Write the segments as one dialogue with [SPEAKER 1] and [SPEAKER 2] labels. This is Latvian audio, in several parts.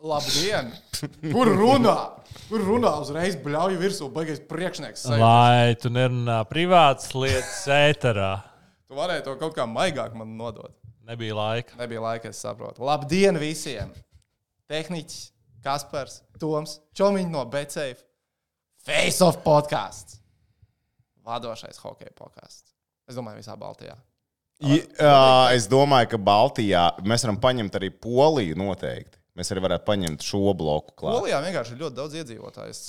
[SPEAKER 1] labu dienu. Kur runā? Kur runā uzreiz bļauju virsū, baigais priekšnieks. sajūta.
[SPEAKER 2] Lai tu nerunā privātas lietas, ēterā.
[SPEAKER 1] Tu varēji to kaut kā maigāk man nodot.
[SPEAKER 2] Nebija laika.
[SPEAKER 1] Nebija laika, es saprotu. Labdien visiem! Tehniķis, Kaspars, Toms, Čomiņš no Betseif, Face of podkāsts. Vadošais hokeja podkāsts. Es domāju, visā Baltijā.
[SPEAKER 3] Jā, es domāju, ka Baltijā mēs varam paņemt arī Poliju noteikti. Mēs arī varētu paņemt šo bloku klāt.
[SPEAKER 1] Polijā vienkārši ir ļoti daudz iedzīvotāju. Es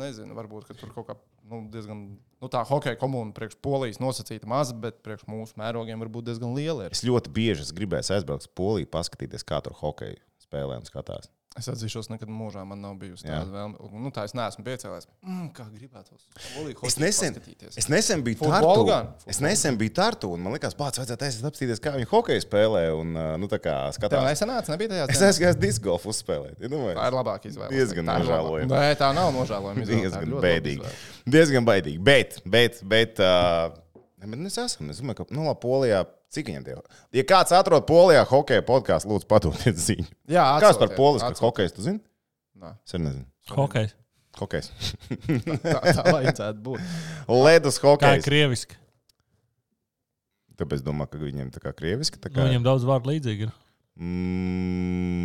[SPEAKER 1] nezinu, varbūt ka tur kaut kā nu, diezgan nu, tā hokeja komuna priekš polijas nosacīta maza, bet priekš mūsu mērogiem varbūt diezgan liela. Ir.
[SPEAKER 3] Es ļoti bieži es gribēju aizbraukt uz Poliju, paskatīties, kā tur hokeja spēlē un skatās.
[SPEAKER 1] Es atzīšos, nekad mūžā man nav bijusi
[SPEAKER 3] Jā.
[SPEAKER 1] tāda vēlme. Nu, tā es neesmu piecēlējis. Mm, kā gribētu uz poliju
[SPEAKER 3] Es
[SPEAKER 1] hokeju
[SPEAKER 3] nesen,
[SPEAKER 1] paskatīties.
[SPEAKER 3] es nesen biju
[SPEAKER 1] Futbolu
[SPEAKER 3] Tartu.
[SPEAKER 1] gan?
[SPEAKER 3] Es nesen biju Tartu, un man liekas, pats vajadzētu aiziet apskatīties, kā viņi hokeju spēlē. Un, ā, nu, tā kā
[SPEAKER 1] Tev
[SPEAKER 3] skatās.
[SPEAKER 1] nesanāca, nebija tajā
[SPEAKER 3] Es aizgāju disku golfu uzspēlēt. Ja nu domāju,
[SPEAKER 1] Tā ir labāka izvēle.
[SPEAKER 3] Diezgan
[SPEAKER 1] Tā ir
[SPEAKER 3] nožēlojama.
[SPEAKER 1] labā- Nē, tā nav nožēlojama. izvēle, tā ir ļoti
[SPEAKER 3] diezgan
[SPEAKER 1] laba
[SPEAKER 3] bēdīgi.
[SPEAKER 1] izvēle.
[SPEAKER 3] Diezgan baidīgi. Bet, bet, bet. Uh, Mēs esam. Es domāju, ka, nu, labi, Polijā. Cik viņam tie ir? Ja kāds atrod Polijā hokeja podkāstu, lūdzu, padodiet ziņu.
[SPEAKER 1] Jā,
[SPEAKER 3] Kas par
[SPEAKER 1] atsauciet,
[SPEAKER 3] polijas
[SPEAKER 1] atsauciet.
[SPEAKER 3] hokeju? Jūs zināt?
[SPEAKER 1] Nē.
[SPEAKER 3] Es arī nezinu.
[SPEAKER 2] Hokejs.
[SPEAKER 3] Hokejs.
[SPEAKER 1] Tā, tā vajadzētu būt.
[SPEAKER 3] Ledus
[SPEAKER 2] Kā ir
[SPEAKER 3] hokejs.
[SPEAKER 2] krieviski?
[SPEAKER 3] Tāpēc es domāju, ka viņiem tā kā krieviski. Tā
[SPEAKER 2] Nu,
[SPEAKER 3] kā...
[SPEAKER 2] viņam daudz vārdu līdzīgi. ir.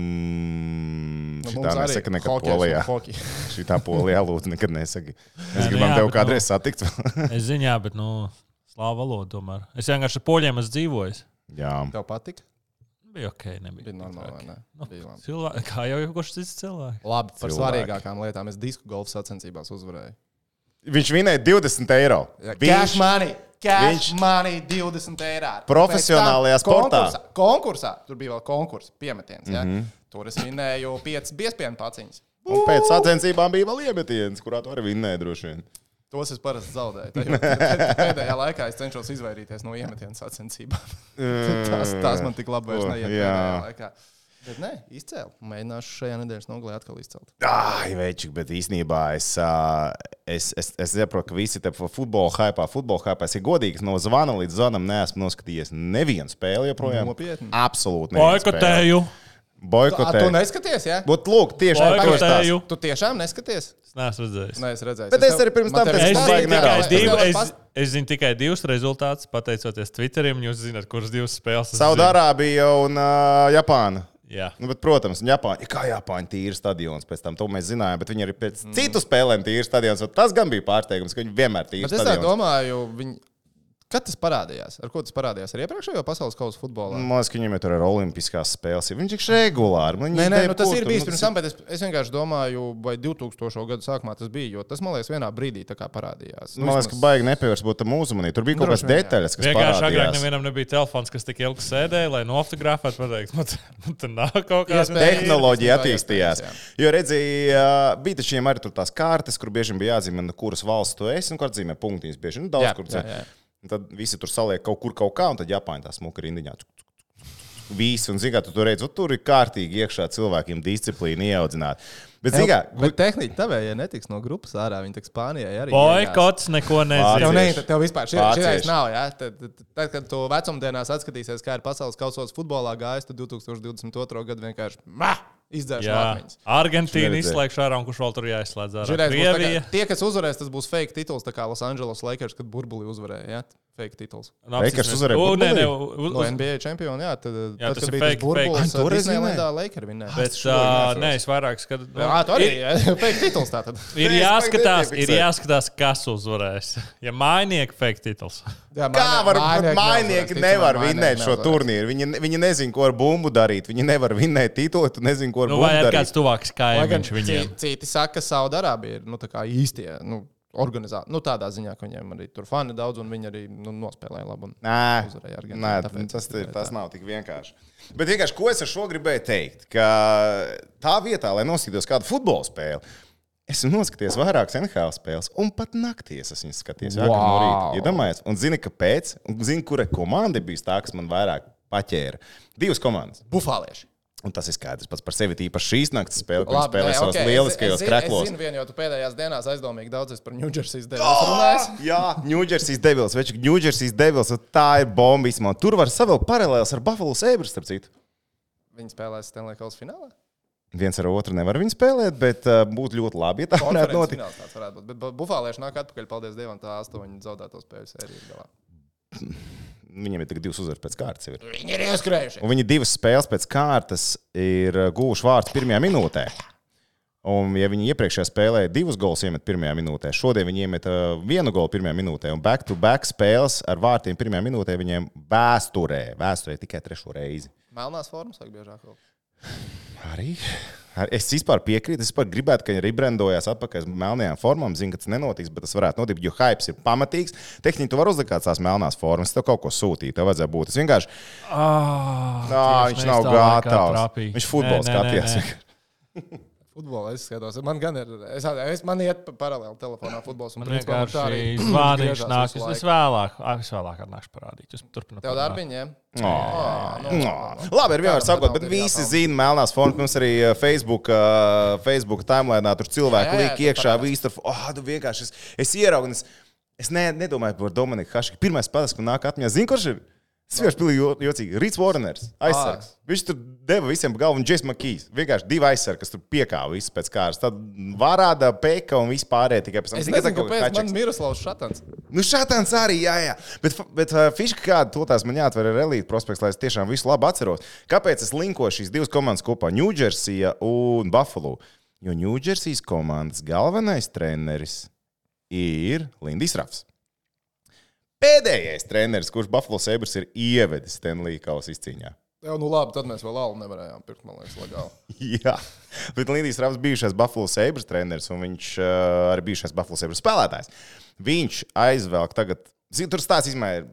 [SPEAKER 3] Mm,
[SPEAKER 1] Nu,
[SPEAKER 3] šitā
[SPEAKER 1] mums arī
[SPEAKER 3] nesaka nekad
[SPEAKER 1] hokejs un
[SPEAKER 3] polijā.
[SPEAKER 1] hoki.
[SPEAKER 3] Šitā polijā lūdzu nekad nesaki. Mēs
[SPEAKER 2] nu
[SPEAKER 3] gribam
[SPEAKER 2] jā,
[SPEAKER 3] tevi
[SPEAKER 2] bet nu-
[SPEAKER 3] kādreiz satikt.
[SPEAKER 2] Es ziņā, bet, nu, slāva valoda tomēr. Es vienkārši ar poļiem esmu dzīvojis.
[SPEAKER 3] Jā.
[SPEAKER 1] Tev patika?
[SPEAKER 2] Bija ok, nebija.
[SPEAKER 1] Bija
[SPEAKER 2] tik
[SPEAKER 1] normāli,
[SPEAKER 2] traki.
[SPEAKER 1] vai ne?
[SPEAKER 2] Nu,
[SPEAKER 1] Bija labi.
[SPEAKER 2] cilvēki, kā jau jau kurš cits cilvēks.
[SPEAKER 1] Labi, par
[SPEAKER 3] Cilvēki.
[SPEAKER 1] svarīgākām lietām. Es disku golfa sacensībās uzvarēju.
[SPEAKER 3] Viņš vinēja 20 eiro.
[SPEAKER 1] Cash
[SPEAKER 3] Viņš
[SPEAKER 1] money! Cash
[SPEAKER 3] viņš-
[SPEAKER 1] money 20 eiro.
[SPEAKER 3] Profesionālajā
[SPEAKER 1] Pēc tam
[SPEAKER 3] sportā. Mhm.
[SPEAKER 1] Konkursā, konkursā, tur bija vēl konkurss, piemetiens. Mm -hmm. Tur es minēju 5 biespienu paciņas.
[SPEAKER 3] Un pēc sacensībām bija vēl iemetiens, kurā tu arī vinnēji droši vien.
[SPEAKER 1] Tos es parasti zaudēju. Tajā- Pēdējā laikā es cenšos izvairīties no iemetienas sacensībām. tās, tās man tik labi vairs
[SPEAKER 3] to,
[SPEAKER 1] neiet.
[SPEAKER 3] Oh, jā.
[SPEAKER 1] pēdējā laikā. Bet nē, izcēlu. Mēģināšu šajā nedēļas nogalē atkal izcelt.
[SPEAKER 3] Ai, večik, bet īsnībā es, ā, es, es, es saprotu, ka visi te futbola hypā, futbola hypā, es ir godīgs, no zvana līdz zvanam neesmu noskatījies nevienu spēli joprojām.
[SPEAKER 1] Nopietni?
[SPEAKER 3] Absolūti. nevienu spēli.
[SPEAKER 2] Boikotēju!
[SPEAKER 1] Ko tu
[SPEAKER 3] Boikotēju.
[SPEAKER 1] neskaties? Ja?
[SPEAKER 3] Bet lūk, tieši ar to stāstu.
[SPEAKER 2] Boikotēju!
[SPEAKER 1] Tu tiešām neskaties?
[SPEAKER 2] Es neesmu redzējis.
[SPEAKER 1] Nē, es redzēju.
[SPEAKER 3] Bet es arī pirms tam
[SPEAKER 2] Es
[SPEAKER 3] Es
[SPEAKER 2] zinu,
[SPEAKER 3] baigi
[SPEAKER 2] tikai
[SPEAKER 3] neraugu.
[SPEAKER 2] divu,
[SPEAKER 1] Es tev
[SPEAKER 2] es,
[SPEAKER 1] pat-
[SPEAKER 2] es zinu tikai divus rezultātus, pateicoties Twitterim. Jūs zināt, kuras divas spēles es zinu.
[SPEAKER 3] Saudārābija un uh, Japāna.
[SPEAKER 2] Jā.
[SPEAKER 3] Nu, bet, protams, un Japāna, kā Japāņu tīra stadions, pēc tam to mēs zinājām, bet viņi arī pēc mm. citu spēlēm tīra stadions. un Tas gan bija pārsteigums, ka viņi vienmēr tīra
[SPEAKER 1] Bet es tā
[SPEAKER 3] stadions.
[SPEAKER 1] domāju, viņi... kad tas parādījās? Ar ko tas parādījās? Ar iepriekšējo pasaules kausa futbolā?
[SPEAKER 3] Man liekas, ka viņiem jau tur ir olimpiskās spēles. Viņš ir regulāri. man
[SPEAKER 1] Nē,
[SPEAKER 3] viņi
[SPEAKER 1] nē,
[SPEAKER 3] ideja
[SPEAKER 1] nu, tas
[SPEAKER 3] kur
[SPEAKER 1] ir
[SPEAKER 3] tur,
[SPEAKER 1] bijis
[SPEAKER 3] nu,
[SPEAKER 1] pirms tam, bet es, es vienkārši domāju, vai 2000. gada sākumā tas bija. Jo tas, man liekas, vienā brīdī tā kā parādījās. Nu,
[SPEAKER 3] Man liekas, ka
[SPEAKER 1] vismaz-
[SPEAKER 3] baigi nepievērst būt tam uzmanību. Tur bija kaut kādas
[SPEAKER 1] Droši vien, jā.
[SPEAKER 3] detaļas, kas
[SPEAKER 2] Vienkārši agrāk
[SPEAKER 3] parādījās.
[SPEAKER 2] nevienam nebija telefons, kas tik ilgi sēdēja, lai nofotografētu, pateikt, man, te- man tur nav kaut kāda
[SPEAKER 1] Iespējams.
[SPEAKER 3] Tehnoloģija
[SPEAKER 1] Jā,
[SPEAKER 3] attīstījās. Jo, redziet, bija taču viņiem arī tur tās kartes, kur bieži vien bija jāatzīmē, no kuras valsts tu esi un kur atzīmē punktiņas. Bieži vien nu, daudz
[SPEAKER 1] Jā,
[SPEAKER 3] kur
[SPEAKER 1] jā,
[SPEAKER 3] dzīvo.
[SPEAKER 1] jā.
[SPEAKER 3] Un Tad visi tur saliek kaut kur kaut kā, un tad Japāņi tā smuka rindiņā. Tuk, tuk, tuk, tuk. Visi, un zina, tu tur redz, un tur ir kārtīgi iekšā cilvēkiem disciplīna ieaudzināta. Bet, zina,
[SPEAKER 1] Bet tehniski tavējie netiks no grupas ārā. Viņi tiks Spānijai arī.
[SPEAKER 2] Boikots neko
[SPEAKER 1] Tev,
[SPEAKER 2] nezinu.
[SPEAKER 3] Pārdzīvi.
[SPEAKER 1] ne, tev vispār šī
[SPEAKER 3] Vācieši.
[SPEAKER 1] ideja nav. Ja? Tad, tad, tad, kad tu vecumdienās atskatīsies, kā ir pasaules kausos futbolā gājis, tad 2022. gadu vienkārši ma, izdzēš no
[SPEAKER 2] Jā,
[SPEAKER 1] atmiņas.
[SPEAKER 2] Argentīna
[SPEAKER 3] Neredzēju.
[SPEAKER 2] izslēgšā ārā, un kurš vēl tur jāizslēdz ārā?
[SPEAKER 1] Žiūrēs, būs tā
[SPEAKER 2] Krievija.
[SPEAKER 1] kā- Tie, kas uzvarēs, tas būs fake tituls, tā kā Los Angeles Lakers, kad burbuli uzvarēja. Jā, fake tituls.
[SPEAKER 2] Nu,
[SPEAKER 3] Lakers
[SPEAKER 2] apsismies.
[SPEAKER 3] uzvarēja
[SPEAKER 2] U, nē,
[SPEAKER 3] Burbulī?
[SPEAKER 2] nē, u-
[SPEAKER 1] No
[SPEAKER 2] uz-
[SPEAKER 1] NBA čempiona, jā, tad, jā, tad
[SPEAKER 2] tas
[SPEAKER 1] kad
[SPEAKER 2] ir
[SPEAKER 1] bija tas
[SPEAKER 2] fake, fake.
[SPEAKER 1] burbulis,
[SPEAKER 3] Ai, toreiz
[SPEAKER 1] Disneylandā Lakers vinnēja.
[SPEAKER 2] Bet
[SPEAKER 3] šodien
[SPEAKER 2] ā,
[SPEAKER 3] neatceros.
[SPEAKER 2] nē, es vairāk skatu. nu,
[SPEAKER 1] Jā, tā
[SPEAKER 2] ir-
[SPEAKER 1] arī ir fake tituls. Tātad.
[SPEAKER 2] Ir
[SPEAKER 3] Nē, es
[SPEAKER 2] jāskatās,
[SPEAKER 3] baigi
[SPEAKER 2] ir
[SPEAKER 3] nepiefiksēju.
[SPEAKER 2] jāskatās, kas uzvarēs. Ja mainiņš fake titls.
[SPEAKER 1] Jā,
[SPEAKER 3] Kā
[SPEAKER 1] mainie-
[SPEAKER 3] var
[SPEAKER 1] mainnieki
[SPEAKER 3] būt mainiņi,
[SPEAKER 1] neuzvarēs,
[SPEAKER 3] nevar
[SPEAKER 1] ticamāk,
[SPEAKER 3] vinnēt
[SPEAKER 1] mainnieki
[SPEAKER 3] šo
[SPEAKER 1] neuzvarēs.
[SPEAKER 3] turnīru? Viņi, viņi nezina, ko ar bumbu darīt. Viņi nevar vinnēt titulu, tu nezini, ko ar
[SPEAKER 2] Nu,
[SPEAKER 3] bumbu
[SPEAKER 2] vai ir
[SPEAKER 3] darīt.
[SPEAKER 2] kāds tuvāks
[SPEAKER 1] Lai gan
[SPEAKER 2] kaimiņš viņiem?
[SPEAKER 1] ci- citi saka, ka Saudārābija ir nu, tā kā īstie nu, organizātori. Nu, tādā ziņā, ka viņiem arī tur fani daudz un viņi arī nu, nospēlēja labu. un- uzvarēja
[SPEAKER 3] Nē,
[SPEAKER 1] Argentīna,
[SPEAKER 3] nē
[SPEAKER 1] tāpēc
[SPEAKER 3] tas,
[SPEAKER 1] tikai
[SPEAKER 3] ir, tas
[SPEAKER 1] tā.
[SPEAKER 3] nav tik vienkārši. Bet vienkārši, ko es ar šo gribēju teikt, ka tā vietā, lai noskatītos kādu futbola spēli, esmu noskatījies vairākas NHL spēles, un pat naktīs es viņas skatījos. Jā, wow. no
[SPEAKER 1] Wow.
[SPEAKER 3] rīta. Iedomājies, un zini, kāpēc, un zini, kura komanda bija tā, kas man vairāk paķēra. Divas komandas.
[SPEAKER 1] Bufālieši.
[SPEAKER 3] Un tas ir skaidrs pats par sevi, īpaši šīs naktas spēle, kur viņi
[SPEAKER 1] Labi,
[SPEAKER 3] spēlē
[SPEAKER 1] nē,
[SPEAKER 3] savos
[SPEAKER 1] ok,
[SPEAKER 3] okay.
[SPEAKER 1] es-
[SPEAKER 3] lieliskajos
[SPEAKER 1] es zinu- Es
[SPEAKER 3] kreklos.
[SPEAKER 1] zinu, vien jau tu pēdējās dienās aizdomīgi daudz es par Ņūdžersijas devu runāju.
[SPEAKER 3] Ah, Jā, Ņūdžersijas devils, veču, Ņūdžersijas devils, un tā ir bomba. vismā. Tur var savēl paralēlus ar Buffalo Sabres, starp citu.
[SPEAKER 1] Viņi spēlēs Stanley Kalns finālā.
[SPEAKER 3] viens ar otru nevar viņu spēlēt, bet uh, būtu ļoti labi, ja tā varētu
[SPEAKER 1] Konferences
[SPEAKER 3] notikt.
[SPEAKER 1] fināls tāds varētu būt. Bet bu- bufālieši nāk atpakaļ, paldies Dievam, tā astoņu zaudēto spēļu sēriju galā.
[SPEAKER 3] Viņiem ir tikai divas uzvaras pēc kārtas. jau ir.
[SPEAKER 1] Viņi ir ieskrējuši.
[SPEAKER 3] Un viņi divas spēles pēc kārtas ir uh, guvuši vārtus pirmajā minūtē. Un, ja viņi iepriekšējā spēlē divus golus iemet pirmajā minūtē, šodien viņi iemet uh, vienu golu pirmajā minūtē, un back-to-back spēles ar vārtiem pirmajā minūtē viņiem vēsturē, vēsturē tikai trešo reizi.
[SPEAKER 1] Melnās formas sāk biežāk. vēl.
[SPEAKER 3] Arī. Ar- Es vispār piekrītu. Es vispār gribētu, ka viņi rebrandojās atpakaļ uz melnajām formām. Zinu, ka tas nenotiks, bet tas varētu notikt, jo hype ir pamatīgs. Tehniski tu vari uzlikt tās melnās formas, tev kaut ko sūtīt, tev vajadzēja būt. Es vienkārši. Nā, viņš nav gatavs. Viņš futbolu skatījās.
[SPEAKER 1] Futbolā es skatos. Man gan ir. Es, es man iet pa- paralēli telefonā futbols. Un,
[SPEAKER 2] Man
[SPEAKER 1] principā man tā arī
[SPEAKER 2] vienkārši zvāniņš
[SPEAKER 1] griežās
[SPEAKER 2] nāk.
[SPEAKER 1] visu
[SPEAKER 2] Es, es
[SPEAKER 1] laiku.
[SPEAKER 2] vēlāk, ah, es vēlāk atnākšu parādīt. Jūs turpināt.
[SPEAKER 1] Tev
[SPEAKER 2] parunāt.
[SPEAKER 1] darbiņiem?
[SPEAKER 3] Nā,
[SPEAKER 1] Nu,
[SPEAKER 3] nā. Labi, ir vienmēr sakot, bet visi zina, melnās formas. Mums arī eh, Facebook, eh, Facebook timelinē tur
[SPEAKER 1] Jā,
[SPEAKER 3] cilvēki
[SPEAKER 1] jā,
[SPEAKER 3] liek
[SPEAKER 1] jā,
[SPEAKER 3] iekšā visu tur. Ah, tu vienkārši es, es ieraugu. un Es, es ne, nedomāju par Dominiku Hašiku. Pirmais spēlētājs, kas nāk atmiņā, zina, kurš ir. Tas vienkārši bija jo- jocīgi. Rīts Warners,
[SPEAKER 1] Ah.
[SPEAKER 3] aizsargs. Viņš tur deva visiem pa galvu, un Jess Makīs. Vienkārši divi aizsargi, kas tur piekāva visu pēc kārtas. Tad varāda, peka un vispārējie tikai pēc tam.
[SPEAKER 1] Es
[SPEAKER 3] Tikai
[SPEAKER 1] nezinu,
[SPEAKER 3] tā, ka
[SPEAKER 1] kāpēc
[SPEAKER 3] Hašiks-
[SPEAKER 1] man Miroslavs Šatans.
[SPEAKER 3] Nu, šāds arī, jā, jā. Bet, fa- bet uh, fiziski kāda to tās man jāatver ar elīti prospekts, lai es tiešām visu labi atceros. Kāpēc es linkoju šīs divas komandas kopā, Ņūdžersija un Buffalo? Jo Ņūdžersijas komandas galvenais treneris ir Lindijs Rafs. Pēdējais treneris, kurš Buffalo Sabres ir ievedis Stanley Kausa izcīņā.
[SPEAKER 1] Jā, nu labi, tad mēs vēl alu nevarējām pirkt, man liekas, legāli.
[SPEAKER 3] Jā, bet Lindijs Rafs bijušais Buffalo Sabres treneris un viņš uh, arī bijušais Buffalo Sabres spēlētājs. Viņš aizvelk tagad, zinu, tur stāsts izmēr.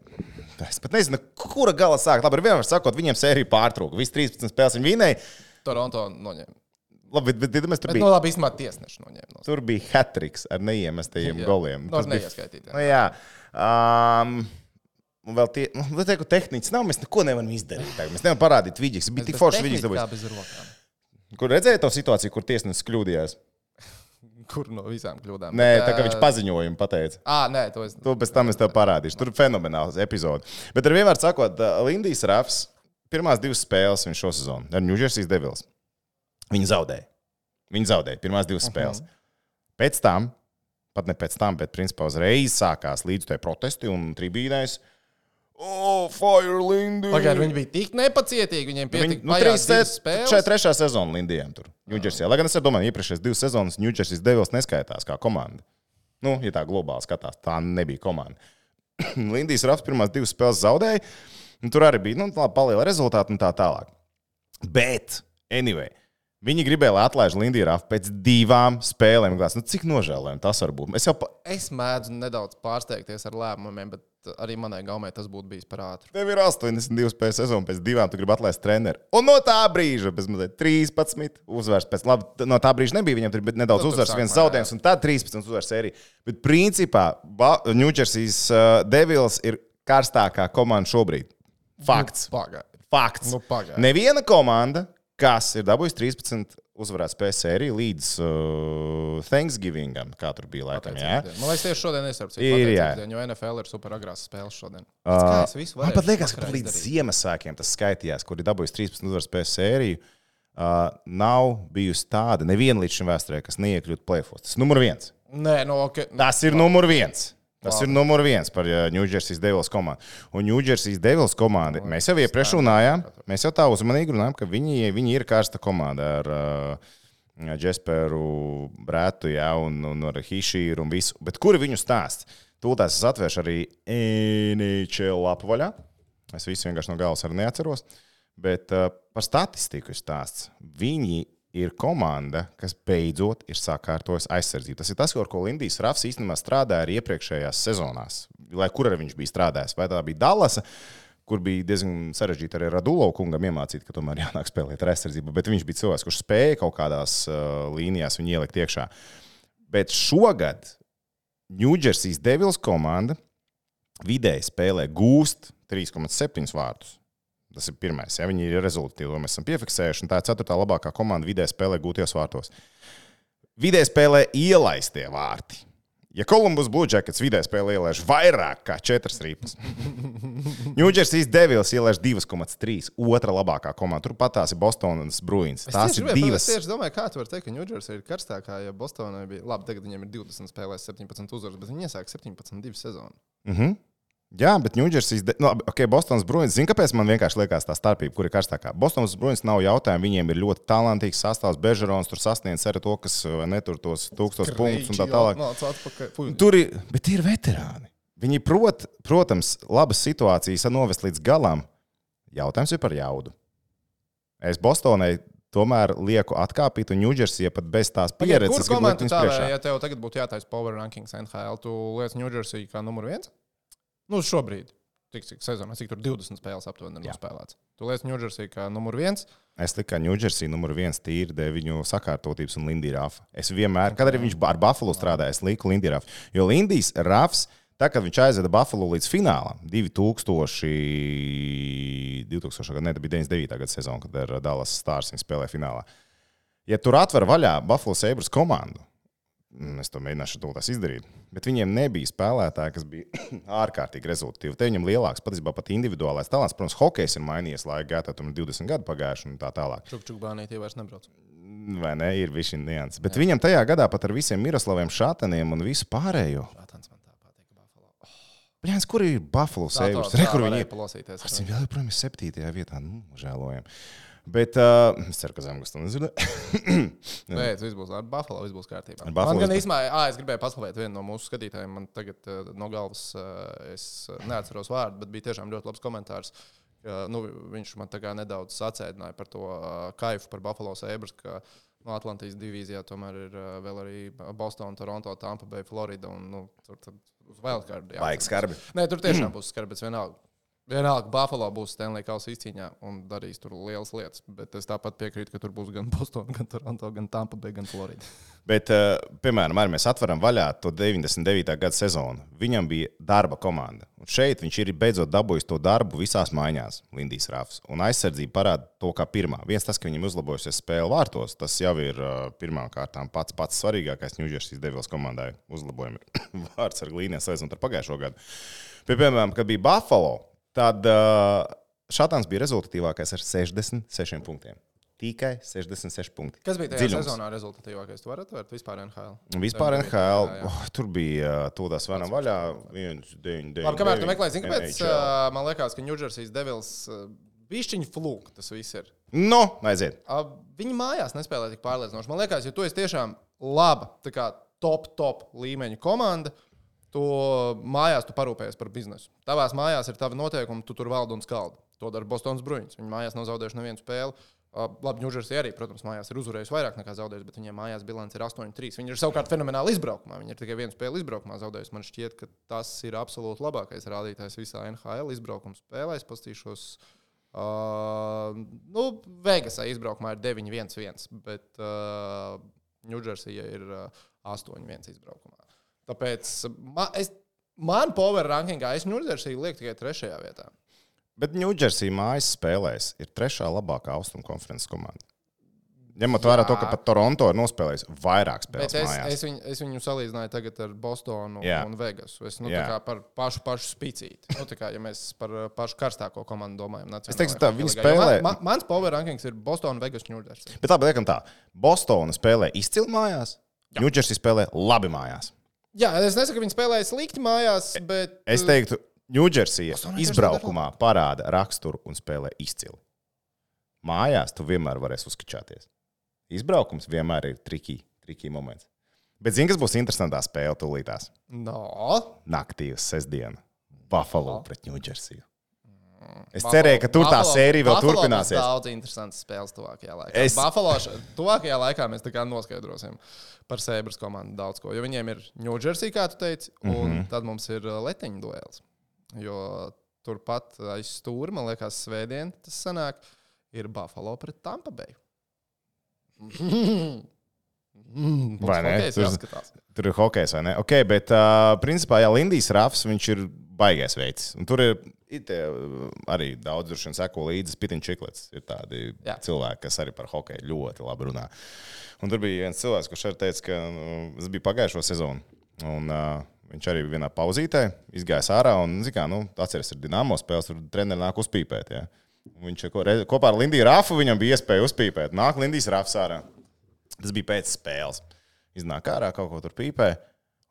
[SPEAKER 3] Es pat nezinu, kura gala sākt. Labi, ar vienam sakot, viņiem sērija pārtrūka. Visi 13 spēles viņi vinēja.
[SPEAKER 1] Toronto noņēma.
[SPEAKER 3] Labi, bet, bet, bet mēs tur
[SPEAKER 1] Bet, nu
[SPEAKER 3] bijām.
[SPEAKER 1] labi, īstenībā tiesneši noņēma. No.
[SPEAKER 3] Tur bija hatriks ar neiemestajiem
[SPEAKER 1] Jā.
[SPEAKER 3] goliem.
[SPEAKER 1] Nu,
[SPEAKER 3] Tas bija
[SPEAKER 1] neieskaitītiem.
[SPEAKER 3] Nu, jā. Um, un vēl tie, nu, tā kā tehnicis nav, mēs neko nevaram izdarīt. tagad. Mēs nevaram parādīt vidīgs. Bija tik forši
[SPEAKER 1] kā
[SPEAKER 3] vidīgs. dabūjis.
[SPEAKER 1] bez rokām.
[SPEAKER 3] Kur redzēja to situāciju, kur tiesnesis kļūdījās?
[SPEAKER 1] Kur no visām kļūdām?
[SPEAKER 3] Nē,
[SPEAKER 1] Bet,
[SPEAKER 3] tā kā viņš
[SPEAKER 1] ā,
[SPEAKER 3] paziņojumu pateica.
[SPEAKER 1] Ā, nē, to es.
[SPEAKER 3] To pēc tam es tev parādīšu. Tur ir fenomenāls epizode. Bet ar vienmēr sakot, Lindijas Rafs pirmās divas spēles viņa šo sezonu ar New Jersey Devils. Viņa zaudēja. Viņa zaudēja pirmās divas spēles. Pēc tam, pat ne pēc tam, bet principā uzreiz sākās līdz tai protesti un tribīnēs. Oh, Fire Lindija!
[SPEAKER 1] Pagaidām, viņi bija tik nepacietīgi. Viņiem
[SPEAKER 3] Viņa
[SPEAKER 1] pietika
[SPEAKER 3] nu,
[SPEAKER 1] bajās
[SPEAKER 3] trīs
[SPEAKER 1] divas
[SPEAKER 3] sēdes
[SPEAKER 1] spēles.
[SPEAKER 3] šeit trešā sezona Lindijam tur, Ņūdžersijā. Lai gan es domāju, iepriekšējās divas sezonas Ņūdžersijas devils neskaitās kā komanda. Nu, ja tā globāli skatās, tā nebija komanda. Lindijas Rafs pirmās divas spēles zaudēja, un tur arī bija nu, paliela rezultāta un tā tālāk. Bet, anyway, viņi gribēja, lai atlaiž Lindiju Rafu pēc divām spēlēm. Glās, nu, cik nožēlojami tas var būt? Mēs jau pa...
[SPEAKER 1] Es mēdzu nedaudz pārsteigties ar lēmumiem, bet arī manai gaumē tas būtu bijis par ātru.
[SPEAKER 3] Tev ir 82 spēļu sezona, pēc divām tu gribi atlaist treneru. Un no tā brīža, bez mazliet 13 uzvaras, pēc labi, t- no tā brīža nebija viņam tur bija
[SPEAKER 1] Nu,
[SPEAKER 3] nedaudz
[SPEAKER 1] tur
[SPEAKER 3] uzvaras, viens
[SPEAKER 1] sākumā,
[SPEAKER 3] zaudējums, un tad 13 uzvaras sērija. Bet principā Ba- Ņūdžersijas uh, Devils ir karstākā komanda šobrīd. Fakts.
[SPEAKER 1] Pagaidām.
[SPEAKER 3] Fakts.
[SPEAKER 1] Nu, pagaidi.
[SPEAKER 3] Neviena komanda, kas ir dabūjusi 13 uzvarētu spēļu sēriju līdz uh, Thanksgivingam, kā tur bija laikam. jā?
[SPEAKER 1] Man liekas, tieši šodien es ar citu
[SPEAKER 3] Ir, jā.
[SPEAKER 1] pateicības dienu, jo NFL ir super agrās spēles šodien.
[SPEAKER 3] Ā,
[SPEAKER 1] Es visu
[SPEAKER 3] Man
[SPEAKER 1] varēšu
[SPEAKER 3] pat liekas, ka
[SPEAKER 1] vakarā
[SPEAKER 3] līdz
[SPEAKER 1] izdarīt.
[SPEAKER 3] Ziemassvētkiem tas skaitījās, kur ir dabūjis 13 uzvaras pēc sēriju. Uh, nav bijusi tāda neviena līdz šim vēsturē, kas neiekļūtu plēfos. Tas ir numur viens.
[SPEAKER 1] Nē, no ok.
[SPEAKER 3] Tas ir numur viens. Tas ir numur viens par uh, New Jersey's Devils komandu. Un New Jersey's Devils komanda, mēs jau iepriekš runājām, mēs jau tā uzmanīgi runājām, ka viņi, viņi ir karsta komanda ar uh, Jasperu, Brētu, jā, un, un ar Hišīru un visu. Bet kur viņu stāsts? Tūlētās es atvēršu arī NHL lapu vaļā. Es visu vienkārši no galvas arī neatceros. Bet uh, par statistiku ir stāsts. Viņi ir komanda, kas beidzot ir sakārtojusi aizsardzību. Tas ir tas, ar ko Lindijs Rafs īstenībā strādāja arī iepriekšējās sezonās, lai kur arī viņš bija strādājis. Vai tā bija Dallasa, kur bija diezgan sarežģīti arī Radulovs kungam iemācīt, ka tomēr jānāk spēlēt ar aizsardzību. Bet viņš bija cilvēks, kurš spēja kaut kādās uh, līnijās viņu ielikt iekšā. Bet šogad Ņūdžersijas Devils komanda vidēji spēlē gūst 3,7 vārtus. Tas ir pirmais. Ja viņi ir rezultāti, to mēs esam piefiksējuši. un Tā ir ceturtā labākā komanda vidē spēlē gūtajos vārtos. Vidē spēlē ielaistie vārti. Ja Kolumbus Bluežakets vidē spēlē ielaiž vairāk kā 4 rīpas, Ņūdžersijas Devils ielaiž 2,3. Otra labākā komanda. Turpat tās ir Bostonas Bruins. Tās ir divas.
[SPEAKER 1] Es tieši domāju, kā tu vari teikt, ka Ņūdžersija ir karstākā, ja Bostonai bija. Labi, tagad viņiem ir 20 spēlēs, 17 uzvaras, bet viņi iesāk 17-2 sezonu.
[SPEAKER 3] Mhm. Jā, bet Ņūdžersijas, de- nu, labi, ok, Bostonas Bruins. Zini, kāpēc man vienkārši liekas tā starpība, kur ir karstākā? Bostonas Bruins nav jautājums. Viņiem ir ļoti talantīgs sastāvs. Bežerons tur sasniedz arī to, kas vai ne tur tos tūkstos punktus un tā tālāk.
[SPEAKER 1] Nāc atpakaļ. Fuj,
[SPEAKER 3] Tur ir, bet ir veterāni. Viņi prot, protams, labas situācijas novest līdz galam. Jautājums ir par jaudu. Es Bostonai tomēr lieku atkāpīt, un Ņūdžersija pat bez tās
[SPEAKER 1] Pagaid,
[SPEAKER 3] pieredzes
[SPEAKER 1] Kur
[SPEAKER 3] gribu
[SPEAKER 1] komanda
[SPEAKER 3] likt viņus
[SPEAKER 1] tā
[SPEAKER 3] priekšā.
[SPEAKER 1] vai, ja tev tagad būtu jātaisa Power Rankings NHL, tu lietas New Jersey kā numur viens? Nu, šobrīd. Tik cik sezonā, cik tur 20 spēles aptuveni ir
[SPEAKER 3] Jā.
[SPEAKER 1] nospēlēts. Tu lietas New Jersey kā numur viens.
[SPEAKER 3] Es tikai Ņūdžersija numur viens tīri dēļ viņu sakārtotības un Lindija Rafa. Es vienmēr, kad arī viņš ar Buffalo strādāja, es lieku Lindiju Rafu. Jo Lindijas Rafs, tā kā viņš aizveda Buffalo līdz finālam, 2000, 2000 gada, ne, tā bija 99. gada sezona, kad ar Dallas Stars viņa spēlēja finālā. Ja tur atver vaļā Buffalo Sabres komandu, un es to mēģināšu to tās izdarīt, bet viņiem nebija spēlētāji, kas bija ārkārtīgi rezultāti. Te viņam lielāks patiesībā pat individuālais talants. Protams, hokejs ir mainījies laika gaitā, tur ir 20 gadi pagājuši un tā tālāk
[SPEAKER 1] Čukčuk bānītī vairs nebrauc.
[SPEAKER 3] vai ne, ir bijis šis nianses. Bet Jā. viņam tajā gadā pat ar visiem Miroslaviem Šātaniem un visu pārējo.
[SPEAKER 1] Prātāns man tā patīk. Buffalo. Oh.
[SPEAKER 3] Bļāns, kur ir Buffalo
[SPEAKER 1] Tā to-
[SPEAKER 3] sēžams?
[SPEAKER 1] tā
[SPEAKER 3] Re, kur viņi
[SPEAKER 1] varēja
[SPEAKER 3] ir?
[SPEAKER 1] Palasīties.
[SPEAKER 3] Ar viņu vēl joprojām ir septītajā vietā, nu, žēlojam. Bet uh, es ceru, ka Zemgals to nezina.
[SPEAKER 1] Nē, tas viss būs ar Buffalo, viss būs kārtībā.
[SPEAKER 3] Ar Buffalo
[SPEAKER 1] Man gan
[SPEAKER 3] viss
[SPEAKER 1] īstenībā, ah, es gribēju paslavēt vienu no mūsu skatītājiem. Man tagad eh, no galvas, eh, es neatceros vārdu, bet bija tiešām ļoti labs komentārs. ka, Nu, viņš man tā kā nedaudz sacēdināja par to eh, kaifu par Buffalo sēbras, ka nu, Atlantijas divīzijā tomēr ir eh, vēl arī Boston, Toronto, Tampa Bay, Florida un nu, tur tad uz Wildcard.
[SPEAKER 3] Baigi skarbi.
[SPEAKER 1] Nē, tur tiešām būs skarbi, bet vienalga. Vienalga, Buffalo būs Stanley Kausa izcīņā un darīs tur lielas lietas. Bet es tāpat piekrītu, ka tur būs gan Boston, gan Toronto, gan Tampa, Bay, gan Florida.
[SPEAKER 3] Bet, uh, piemēram, arī mēs atveram vaļā to 99. gada sezonu. Viņam bija darba komanda. Un šeit viņš ir beidzot dabūjis to darbu visās mājās, Lindijas Rafs. Un aizsardzība parāda to kā pirmā. Viens tas, ka viņam uzlabojusies spēle vārtos, tas jau ir uh, pirmām kārtām pats, pats svarīgākais Ņūdžersijas devils komandai. Uzlabojumi ir vārds ar līniju salīdzinot ar pagājušo gadu. Pie, piemēram, kad bija Buffalo, tad uh, Šāds bija rezultatīvākais ar 66 punktiem. Tikai 66 punkti.
[SPEAKER 1] Kas bija tajā
[SPEAKER 3] Dziļums.
[SPEAKER 1] Dziļums. sezonā rezultatīvākais? Jūs varat atvērt vispār NHL.
[SPEAKER 3] Un Vispār NHL,
[SPEAKER 1] Jā, jā.
[SPEAKER 3] oh, tur bija to tās vienam vaļā, viens, deviņi, deviņi.
[SPEAKER 1] Labi, kamēr tu
[SPEAKER 3] deviņi,
[SPEAKER 1] meklē, zini, kāpēc
[SPEAKER 3] NHL.
[SPEAKER 1] uh, man liekas, ka Ņūdžersijas devils uh, bišķiņu flūk tas viss ir.
[SPEAKER 3] Nu, aiziet.
[SPEAKER 1] Uh, viņi mājās nespēlē tik pārliecinoši. Man liekas, ja tu esi tiešām laba, tā kā top, top līmeņa komanda, tu mājās tu parūpējies par biznesu. Tavās mājās ir tavi noteikumi, tu tur valdi un skaldi. To dara Bostonas Bruins. Viņi mājās nav zaudējuši nevienu spēli. Uh, labi, Ņūdžersija arī, protams, mājās ir uzvarējusi vairāk nekā zaudējusi, bet viņiem mājās bilants ir 8-3. Viņi ir savukārt fenomenāli izbraukumā. Viņi ir tikai vienu spēli izbraukumā zaudējusi. Man šķiet, ka tas ir absolūti labākais rādītājs visā NHL izbraukuma spēlē. Es paskatīšos Uh, nu, Vegasā izbraukumā ir 9-1-1, bet uh, Ņūdžersija ir uh, 8-1 izbraukumā. Tāpēc ma, es, man power rankingā es Ņūdžersiju lieku tikai trešajā vietā.
[SPEAKER 3] Bet Ņūdžersija mājas spēlēs ir trešā labākā austrumu konferences komanda. Ņemot vērā to, ka pat Toronto ir nospēlējis vairāk
[SPEAKER 1] Bet
[SPEAKER 3] spēles
[SPEAKER 1] es,
[SPEAKER 3] mājās.
[SPEAKER 1] es, viņu, es viņu salīdzināju tagad ar Bostonu
[SPEAKER 3] Jā.
[SPEAKER 1] Jā. un Vegasu. Es nu, tā
[SPEAKER 3] Jā.
[SPEAKER 1] kā par pašu, pašu spīcīti. Nu, tā kā, ja mēs par uh, pašu karstāko komandu domājam, es
[SPEAKER 3] teikšu tā, viņi spēlē-
[SPEAKER 1] Man, man, mans power rankings ir Boston, Vegas, Ņūdžersija.
[SPEAKER 3] Bet labi, liekam tā, Bostona spēlē izcili mājās, Ņūdžersija spēlē labi mājās.
[SPEAKER 1] Jā, es nesaku, ka viņi spēlēja slikti mājās, bet.
[SPEAKER 3] E- Es
[SPEAKER 1] uh,
[SPEAKER 3] teiktu, Ņūdžersija
[SPEAKER 1] Bostonai tieši
[SPEAKER 3] izbraukumā parāda raksturu un spēlē izcili. Mājās tu vienmēr varēsi uzkačāties. Izbraukums vienmēr ir trikī, trikī moments. Bet zini, kas būs interesantā spēle tūlītās?
[SPEAKER 1] uh, No.
[SPEAKER 3] Naktī uz sestdienu. Buffalo pret Ņūdžersiju. Es
[SPEAKER 1] Buffalo-
[SPEAKER 3] cerēju, ka tur tā
[SPEAKER 1] Buffalo-
[SPEAKER 3] sērija vēl
[SPEAKER 1] Buffalo būs
[SPEAKER 3] turpināsies.
[SPEAKER 1] Daudz interesantas spēles tuvākajā laikā.
[SPEAKER 3] Es-
[SPEAKER 1] Es... Buffalo š- tuvākajā laikā mēs tā kā noskaidrosim par Sēbras komandu daudz ko. Jo viņiem ir Ņūdžersija, kā tu teici, un mm
[SPEAKER 3] Mhm.
[SPEAKER 1] -hmm. tad mums ir uh, Leteņu duels. Jo turpat aiz stūra, man liekas, svētdien tas sanāk, ir Buffalo pret Tampa Bay. Mm,
[SPEAKER 3] Vai ne?
[SPEAKER 1] Tas
[SPEAKER 3] Tur-
[SPEAKER 1] ir jāskatās.
[SPEAKER 3] Tur ir hokejs, vai ne? Ok, bet uh, principā jā, Lindijas Rafs viņš ir baigais veids. Un tur ir it, uh, arī daudz droši vien seko līdzi Pitņš Čiklets. Ir tādi jā.
[SPEAKER 1] Jā.
[SPEAKER 3] cilvēki, kas arī par hokeju ļoti labi runā. Un tur bija viens cilvēks, kurš arī teica, ka nu, tas bija pagājušo sezonu. Un, uh, viņš arī vienā pauzītē izgāja ārā un, zin kā, nu, atceries, ar Dienāmo spēles tur treniņš nāk uzpīpēt. Ja? Un Viņš ko- re- kopā ar Lindiju Rāfu viņam bija iespēja uzpīpēt. Nāk Lindijas Rāfs ārā. Tas bija pēc spēles. Iznāk ārā, kaut ko tur pīpē.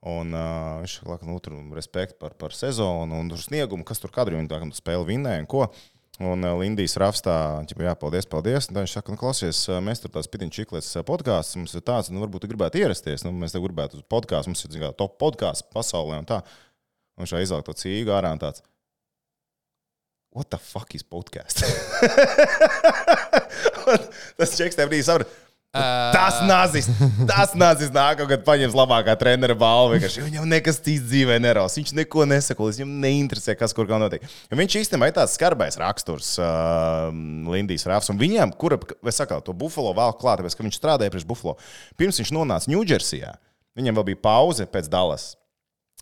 [SPEAKER 3] Un uh, viņš laikam nu, tur respektu par, par sezonu un tur sniegumu, kas tur kadri viņa laikam, tu spēli nu, vinnēja un ko. Un uh, Lindijas rakstā, jā, paldies, paldies. Un tad viņš saka, nu, klausies, ā, mēs tur tās pitiņu čiklis podkāsts, mums ir tāds, nu, varbūt tu gribētu ierasties. Nu, mēs te gribētu uz podkāstu, mums ir zin kā, top podkāsts pasaulē un tā. Un šā izlaiž to cīgu ārā un tāds. What the fuck is podcast? Un Tas čeks tev brīdī saprot. Tas nācis, tas nācis nākamā gada paņems labākā treniņa balvu. vienkārši. Viņam nekas cits dzīvē nerauc. Viņš neko nesako, viņš viņam neinteresē, kas kur kā notiek. Un viņš īstenībā ir tāds skarbais raksturs, uh, Lindijas Rāfs. Un viņam, kura, es saku, to bufalo vēl klāt, tāpēc, ka viņš strādāja priekš bufalo. Pirms viņš nonāca Ņūdžersijā, viņam vēl bija pauze pēc Dallas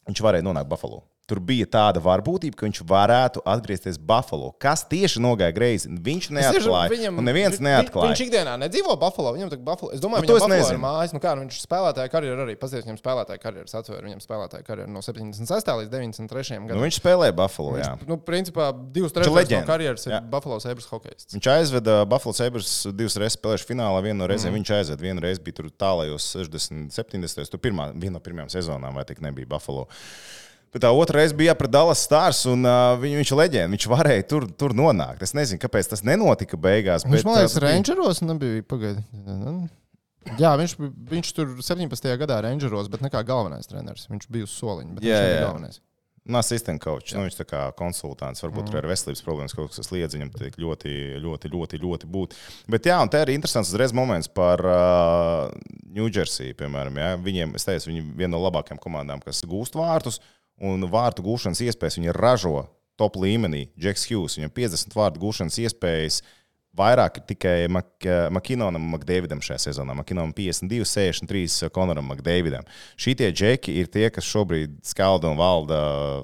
[SPEAKER 3] viņš varēja nonākt Buffalo. Tur bija tāda varbūtība, ka viņš varētu atgriezties Buffalo. Kas tieši nogāja greizi? Viņš neatklāja. Viņam, un neviens
[SPEAKER 1] vi-
[SPEAKER 3] neatklāja.
[SPEAKER 1] Viņš ikdienā nedzīvo Buffalo. Viņam tā kā Buffalo. Es domāju, nu,
[SPEAKER 3] Nu, to es
[SPEAKER 1] viņam Buffalo ir
[SPEAKER 3] nezinu.
[SPEAKER 1] mājas. Nu, kā, nu, viņš spēlētāja karjeru arī. Paskatieties, viņam spēlētāja karjeras atvēra. Viņam spēlētāja karjeru no 76. līdz 93.
[SPEAKER 3] Nu,
[SPEAKER 1] gadam.
[SPEAKER 3] viņš spēlēja Buffalo. Jā.
[SPEAKER 1] Nu, principā divas
[SPEAKER 3] Viņš
[SPEAKER 1] trešdaļas
[SPEAKER 3] ir
[SPEAKER 1] no karjeras ir
[SPEAKER 3] leģenda.
[SPEAKER 1] Buffalo Sabres hokejists.
[SPEAKER 3] Viņš aizveda Buffalo Sabres divas reizes spēlējuši finālā. Vienu no reizēm mm. viņš aizveda, vienu reizi bija tur tālajos 60, 70. Tur pirmā, viena no pirmajām sezonām, vai tik nebija Buffalo. Bet tā otra reize bija pret Dallas Stars, un uh, viņ, viņš ir leģenda. Viņš varēja tur, tur nonākt. Es nezinu, kāpēc tas nenotika beigās.
[SPEAKER 1] Viņš,
[SPEAKER 3] bet, uh,
[SPEAKER 1] man liekas,
[SPEAKER 3] ā, tas bija-
[SPEAKER 1] Rangeros nebija pagaidījis. Jā, viņš, bi- viņš tur 17. gadā Rangeros, bet ne kā galvenais treneris. Viņš bija uz soliņa. Bet
[SPEAKER 3] Jā,
[SPEAKER 1] viņš nebija
[SPEAKER 3] jā.
[SPEAKER 1] galvenais.
[SPEAKER 3] Nu, asistent coach, nu, viņš tā kā konsultants, varbūt mm. ar veselības problēmas kaut kas liedz viņam tik ļoti, ļoti, ļoti, ļoti būt. Bet jā, un te arī interesants uzreiz moments par uh, New Jersey, piemēram. Jā. Viņiem, es teicu, viņi ir viena no labākajām komandām, kas gūst vārtus, un vārtu gūšanas iespējas viņi ražo top līmenī. Džeks Hughes, viņam 50 vārtu gūšanas iespējas. Vairāk ir tikai Mak- Makinonam un Makdēvidam šajā sezonā. Makinonam 52, 63, eh, Konoram Makdēvidam. Šie džeki ir tie, kas šobrīd skalda un valda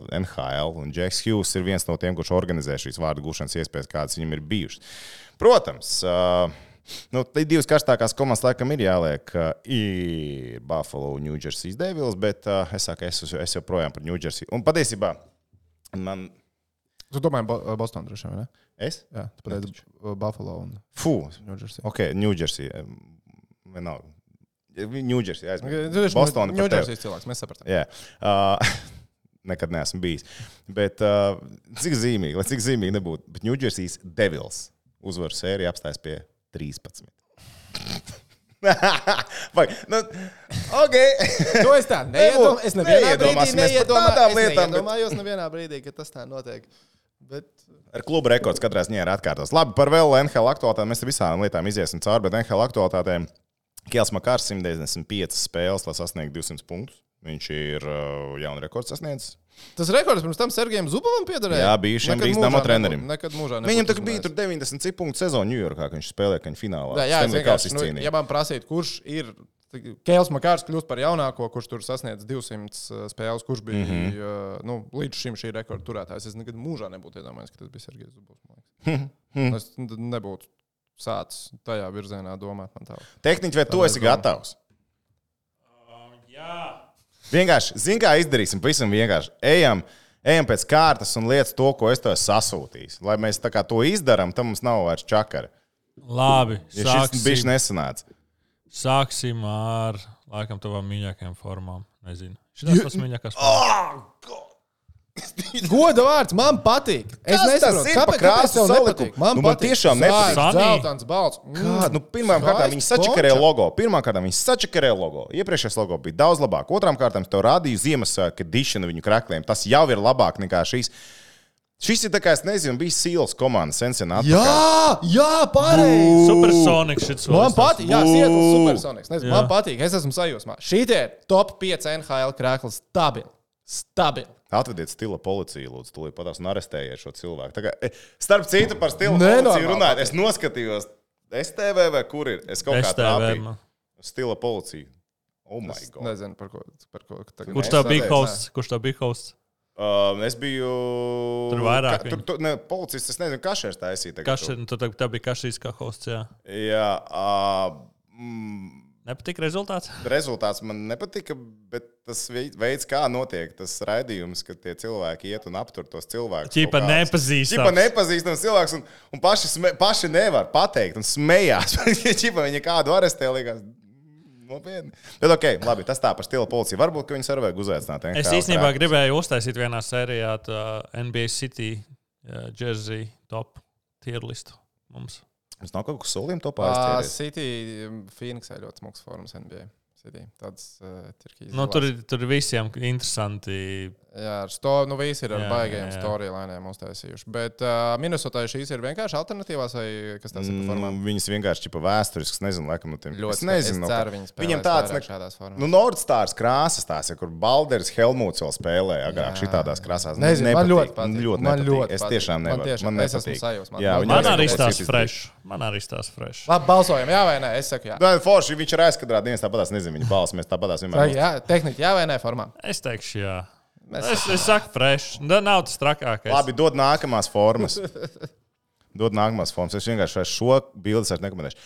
[SPEAKER 3] eh, NHL. Un Džeks Hughes ir viens no tiem, kurš organizē šīs vārdu gūšanas iespējas, kādas viņam ir bijušas. Protams, ā, nu, te divas karstākās komandas laikam ir jāliek. ā, Ir Buffalo un New Jersey Devils, bet ā, es saku, es, es joprojām par New Jersey. Un patiesībā man.
[SPEAKER 1] Tu domāji, Bo uh, Bostonā droši vien? vai ne?
[SPEAKER 3] Es?
[SPEAKER 1] Jā, tu pateici uh, Buffalo un
[SPEAKER 3] Fū,
[SPEAKER 1] Ņūdžersī.
[SPEAKER 3] Ok, Ņūdžersija. Vienalga. Ņūdžersija aizmirst.
[SPEAKER 1] Viņš ir
[SPEAKER 3] Bostonā par tevi.
[SPEAKER 1] Ņūdžersijas cilvēks, mēs sapratām.
[SPEAKER 3] Jā. Uh, nekad neesmu bijis. Bet uh, cik zīmīgi, lai cik zīmīgi nebūtu, bet Ņūdžersijas Devils uzvaru sēriju apstājas pie 13. Vai, nu, ok.
[SPEAKER 1] To es tā neiedomājos. Es nevienā brīdī
[SPEAKER 3] Neiedomāsimies par tādām
[SPEAKER 1] neiedomājos,
[SPEAKER 3] lietām, bet-
[SPEAKER 1] neiedomājos nevienā brīdī, ka tas tā notiek. Bet
[SPEAKER 3] Ar klubu rekords katrā ziņā ir atkārtos. Labi, par vēl NHL aktuālitātēm mēs visām lietām iesim cauri, bet NHL aktuālitātēm Kēls Makārs 195 spēles, lai sasniegtu 200 punktus. Viņš ir uh, jaunu rekordu sasniedzis.
[SPEAKER 1] tas rekords pirms tam Sergejam Zubovam piederēja.
[SPEAKER 3] Jā, bijušajam
[SPEAKER 1] Nekad
[SPEAKER 3] Rīgas nama
[SPEAKER 1] mūžā
[SPEAKER 3] trenerim.
[SPEAKER 1] nebūtu- Nekad mūžā.
[SPEAKER 3] Viņam
[SPEAKER 1] nebūtu
[SPEAKER 3] tā bija tur
[SPEAKER 1] uzmanējis.
[SPEAKER 3] 90 punktu sezona Ņujorkā, kad viņš spēlēja kaņu finālā.
[SPEAKER 1] Jā, jā es
[SPEAKER 3] Stanley Cups
[SPEAKER 1] vienkārši. Nu,
[SPEAKER 3] izcīnīja.
[SPEAKER 1] ja man prasītu, kurš ir. Kēls Makārs kļūst par jaunāko, kurš tur sasniedz 200 spēles, kurš bija
[SPEAKER 3] Mhm.
[SPEAKER 1] mm -hmm. nu, līdz šim šī rekorda turētājs. Es nekad mūžā nebūtu iedomājies, ka tas bija Sergejs Zubovs. man liekas. es n- nebūtu sācis tajā virzienā domāt. man tā.
[SPEAKER 3] Tehniķi, vai tu esi gatavs? Vienkārši, zinām, kā izdarīsim. Pavisam vienkārši. Ejam, ejam pēc kārtas un lietas to, ko es tev esmu sasūtījis. Lai mēs tā kā to izdarām, tad mums nav vairs čakara.
[SPEAKER 2] Labi,
[SPEAKER 3] Ja šis bija
[SPEAKER 2] sāksim,
[SPEAKER 3] nesenāts.
[SPEAKER 2] sāksim ar laikam tavām mīļākajām formām. Nezinu. Šis tas mīļākais. Oh!
[SPEAKER 1] Goda vārds man patīk. Es
[SPEAKER 3] Kas tas
[SPEAKER 1] nesaprotu,
[SPEAKER 3] ir pa
[SPEAKER 1] kāpēc tas
[SPEAKER 3] krāsu
[SPEAKER 1] tev nepatīk.
[SPEAKER 3] salikumu? Nu, man tiešām nepatīk.
[SPEAKER 1] Zvaigznes,
[SPEAKER 2] Sanī.
[SPEAKER 1] Zeltains, balts. Mm.
[SPEAKER 3] Kā, Nu, Pirmkārt,
[SPEAKER 1] Skaists
[SPEAKER 3] viņi sačakarēja
[SPEAKER 1] konča.
[SPEAKER 3] logo. Pirmkārt, viņi sačakarēja logo. Iepriekšējais logo bija daudz labāk. Otrām kārtām es tev rādīju Ziemassvētku dišanu viņu krākliem. Tas jau ir labāk nekā šīs. Šis ir tā kā, es nezinu, bija Sīls komandas sensenā.
[SPEAKER 1] Jā, jā, pareizi.
[SPEAKER 2] Supersonics šis
[SPEAKER 1] Man patīk, jā,
[SPEAKER 3] Bū.
[SPEAKER 1] Sietlis supersoniks. Nezinu,
[SPEAKER 2] Jā.
[SPEAKER 1] man patīk, es esmu sajūsmā. Šī tie ir top 5 NHL krēkli stabili. Stabili.
[SPEAKER 3] Atvediet stila policiju, lūdzu, tūlīt pat tās un arestējiet šo cilvēku. Tā Kā, e, starp citu, par stila
[SPEAKER 1] Nenormāli
[SPEAKER 3] policiju runājot, es noskatījos STV vai kur ir. Es kaut kā tādu
[SPEAKER 2] STV.
[SPEAKER 3] stila policiju. Oh my
[SPEAKER 1] Es
[SPEAKER 3] god!
[SPEAKER 1] nezinu, par ko, par ko tagad.
[SPEAKER 2] Kurš
[SPEAKER 3] Es
[SPEAKER 2] tev
[SPEAKER 3] tā
[SPEAKER 2] bija
[SPEAKER 3] teicu,
[SPEAKER 2] hosts? Kurš tev bija hosts?
[SPEAKER 3] Um, es biju.
[SPEAKER 2] Tur vairāk
[SPEAKER 3] Ka,
[SPEAKER 2] viņu.
[SPEAKER 3] tur, tur ne, policists, es nezinu, kas šeit taisīja. tagad
[SPEAKER 2] Kaš,
[SPEAKER 3] to.
[SPEAKER 2] nu, tad tev bija kašīs kā hosts. Jā.
[SPEAKER 3] Jā, uh, mm,
[SPEAKER 2] Nepatika rezultāts?
[SPEAKER 3] rezultāts man nepatika, bet tas vei- veids, kā notiek tas raidījums, kad tie cilvēki iet un aptur tos cilvēkus.
[SPEAKER 4] Čipa
[SPEAKER 3] kaut kādus. Čipa
[SPEAKER 4] nepazīstams.
[SPEAKER 3] nepazīstams cilvēks, un, un paši, sme, paši nevar pateikt, un smējās. Čipa viņa kādu arestē, liekas, nopietni. Bet, ok, labi, tas tā par stila policiju. Varbūt, ka viņus arī vajag uzaicināt.
[SPEAKER 2] Es
[SPEAKER 3] NHL
[SPEAKER 2] īstenībā
[SPEAKER 3] krā-
[SPEAKER 2] gribēju uztaisīt vienā sērijā tā, NBA City uh, jersey top tier listu mums.
[SPEAKER 3] Mums nav kaut kas solījums to
[SPEAKER 1] Uh,
[SPEAKER 3] pārstāvēt.
[SPEAKER 1] City, Phoenixā ļoti smags forums NBA. City, tāds uh, Tirkijas.
[SPEAKER 2] Nu, tur, ir- tur ir visiem interesanti.
[SPEAKER 1] Jā, ar to nu, visi ir ar
[SPEAKER 2] Jā,
[SPEAKER 1] baigajiem
[SPEAKER 2] jā, jā.
[SPEAKER 1] storylinēm uztaisījuši. Bet uh, Minnesotā šīs ir vienkārši alternatīvās, vai kas tas ir par formām?
[SPEAKER 3] Mm, viņas vienkārši ir vēsturisks, nezinu, laikam, no tiem.
[SPEAKER 1] Ļoti
[SPEAKER 3] es nezinu,
[SPEAKER 1] es
[SPEAKER 3] no kā-
[SPEAKER 1] ceru, viņas
[SPEAKER 3] Viņiem
[SPEAKER 1] spēlēs
[SPEAKER 3] tāds
[SPEAKER 1] vairāk
[SPEAKER 3] ne-
[SPEAKER 1] šādās formās.
[SPEAKER 3] Nu, Nordstars krāsas tās ir, kur Balders Helmuts vēl spēlēja agrāk
[SPEAKER 1] Jā.
[SPEAKER 3] šitādās krāsās. Ne-
[SPEAKER 1] Nezinu, man
[SPEAKER 3] nepatīk.
[SPEAKER 1] ļoti patīk.
[SPEAKER 3] ļoti
[SPEAKER 1] Man
[SPEAKER 3] nepatīk.
[SPEAKER 1] ļoti
[SPEAKER 3] es
[SPEAKER 1] patīk.
[SPEAKER 3] tiešām
[SPEAKER 1] Man
[SPEAKER 3] nevaru.
[SPEAKER 1] tiešām,
[SPEAKER 3] Man
[SPEAKER 1] es esmu
[SPEAKER 3] nepatīk.
[SPEAKER 1] sajūsmā.
[SPEAKER 3] Jā,
[SPEAKER 1] Man-
[SPEAKER 3] viņi
[SPEAKER 2] Man
[SPEAKER 3] arī
[SPEAKER 2] arī
[SPEAKER 3] kaut
[SPEAKER 2] stāsta
[SPEAKER 3] kas
[SPEAKER 2] fresh. Man arī stāsta fresh.
[SPEAKER 1] Labi, balsojam, jā vai nē? Es saku, jā.
[SPEAKER 3] Nu, Forši, viņš ir aizkadrā dienas, tāpatās nezinu viņa balss, mēs tāpatās vienmēr.
[SPEAKER 1] Vai, jā tehniski, jā vai nē, formā.
[SPEAKER 2] Es teikšu, jā. Es, es saku, fresh. Tā nav tas trakākais.
[SPEAKER 3] Labi, dod nākamās formas. Dod nākamās formas. Es vienkārši vairs šo bildes vairs nekomentēšu.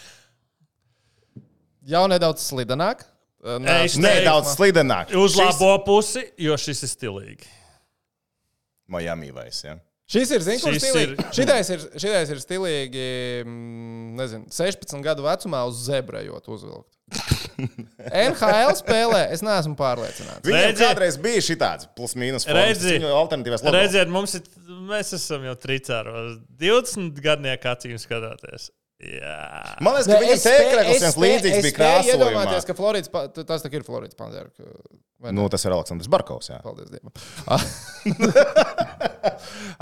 [SPEAKER 1] Jau nedaudz slidenāk. Uh, nē,
[SPEAKER 2] Es-
[SPEAKER 3] Nē, daudz slidenāk.
[SPEAKER 2] Uz
[SPEAKER 3] Šis-
[SPEAKER 2] labo pusi, jo šis ir stilīgi.
[SPEAKER 3] Miami vais. Ja?
[SPEAKER 1] Šis ir, zinu, kurš
[SPEAKER 2] Šis
[SPEAKER 1] stilīgi.
[SPEAKER 2] ir-
[SPEAKER 1] Šitais ir, šitais ir stilīgi, mm, nezinu, 16 gadu vecumā uz zebrējot uzvilkt. NHL spēlē, es neesmu pārliecināts.
[SPEAKER 3] Viņam
[SPEAKER 2] Redzi?
[SPEAKER 3] kādreiz bija šī tāds plus mīnus.
[SPEAKER 2] Redzi?
[SPEAKER 3] alternatīvās logo.
[SPEAKER 2] Redziet, mums ir, mēs esam jau tricēros. 20 gadnieku acīm skatoties. Jā.
[SPEAKER 3] Man liekas, ka
[SPEAKER 1] Nē,
[SPEAKER 3] viņam
[SPEAKER 1] es spēju-
[SPEAKER 3] tēkrēklis
[SPEAKER 1] es
[SPEAKER 3] viens
[SPEAKER 1] spēju-
[SPEAKER 3] līdzīgs
[SPEAKER 1] es
[SPEAKER 3] bija
[SPEAKER 1] spēju Iedomājieties,
[SPEAKER 3] krāsojumā.
[SPEAKER 1] ka Florids, pa- t- tas tā ir Florids Panzer.
[SPEAKER 3] Nu, tas ir Aleksandrs Barkovs. Jā.
[SPEAKER 1] Paldies Dievam.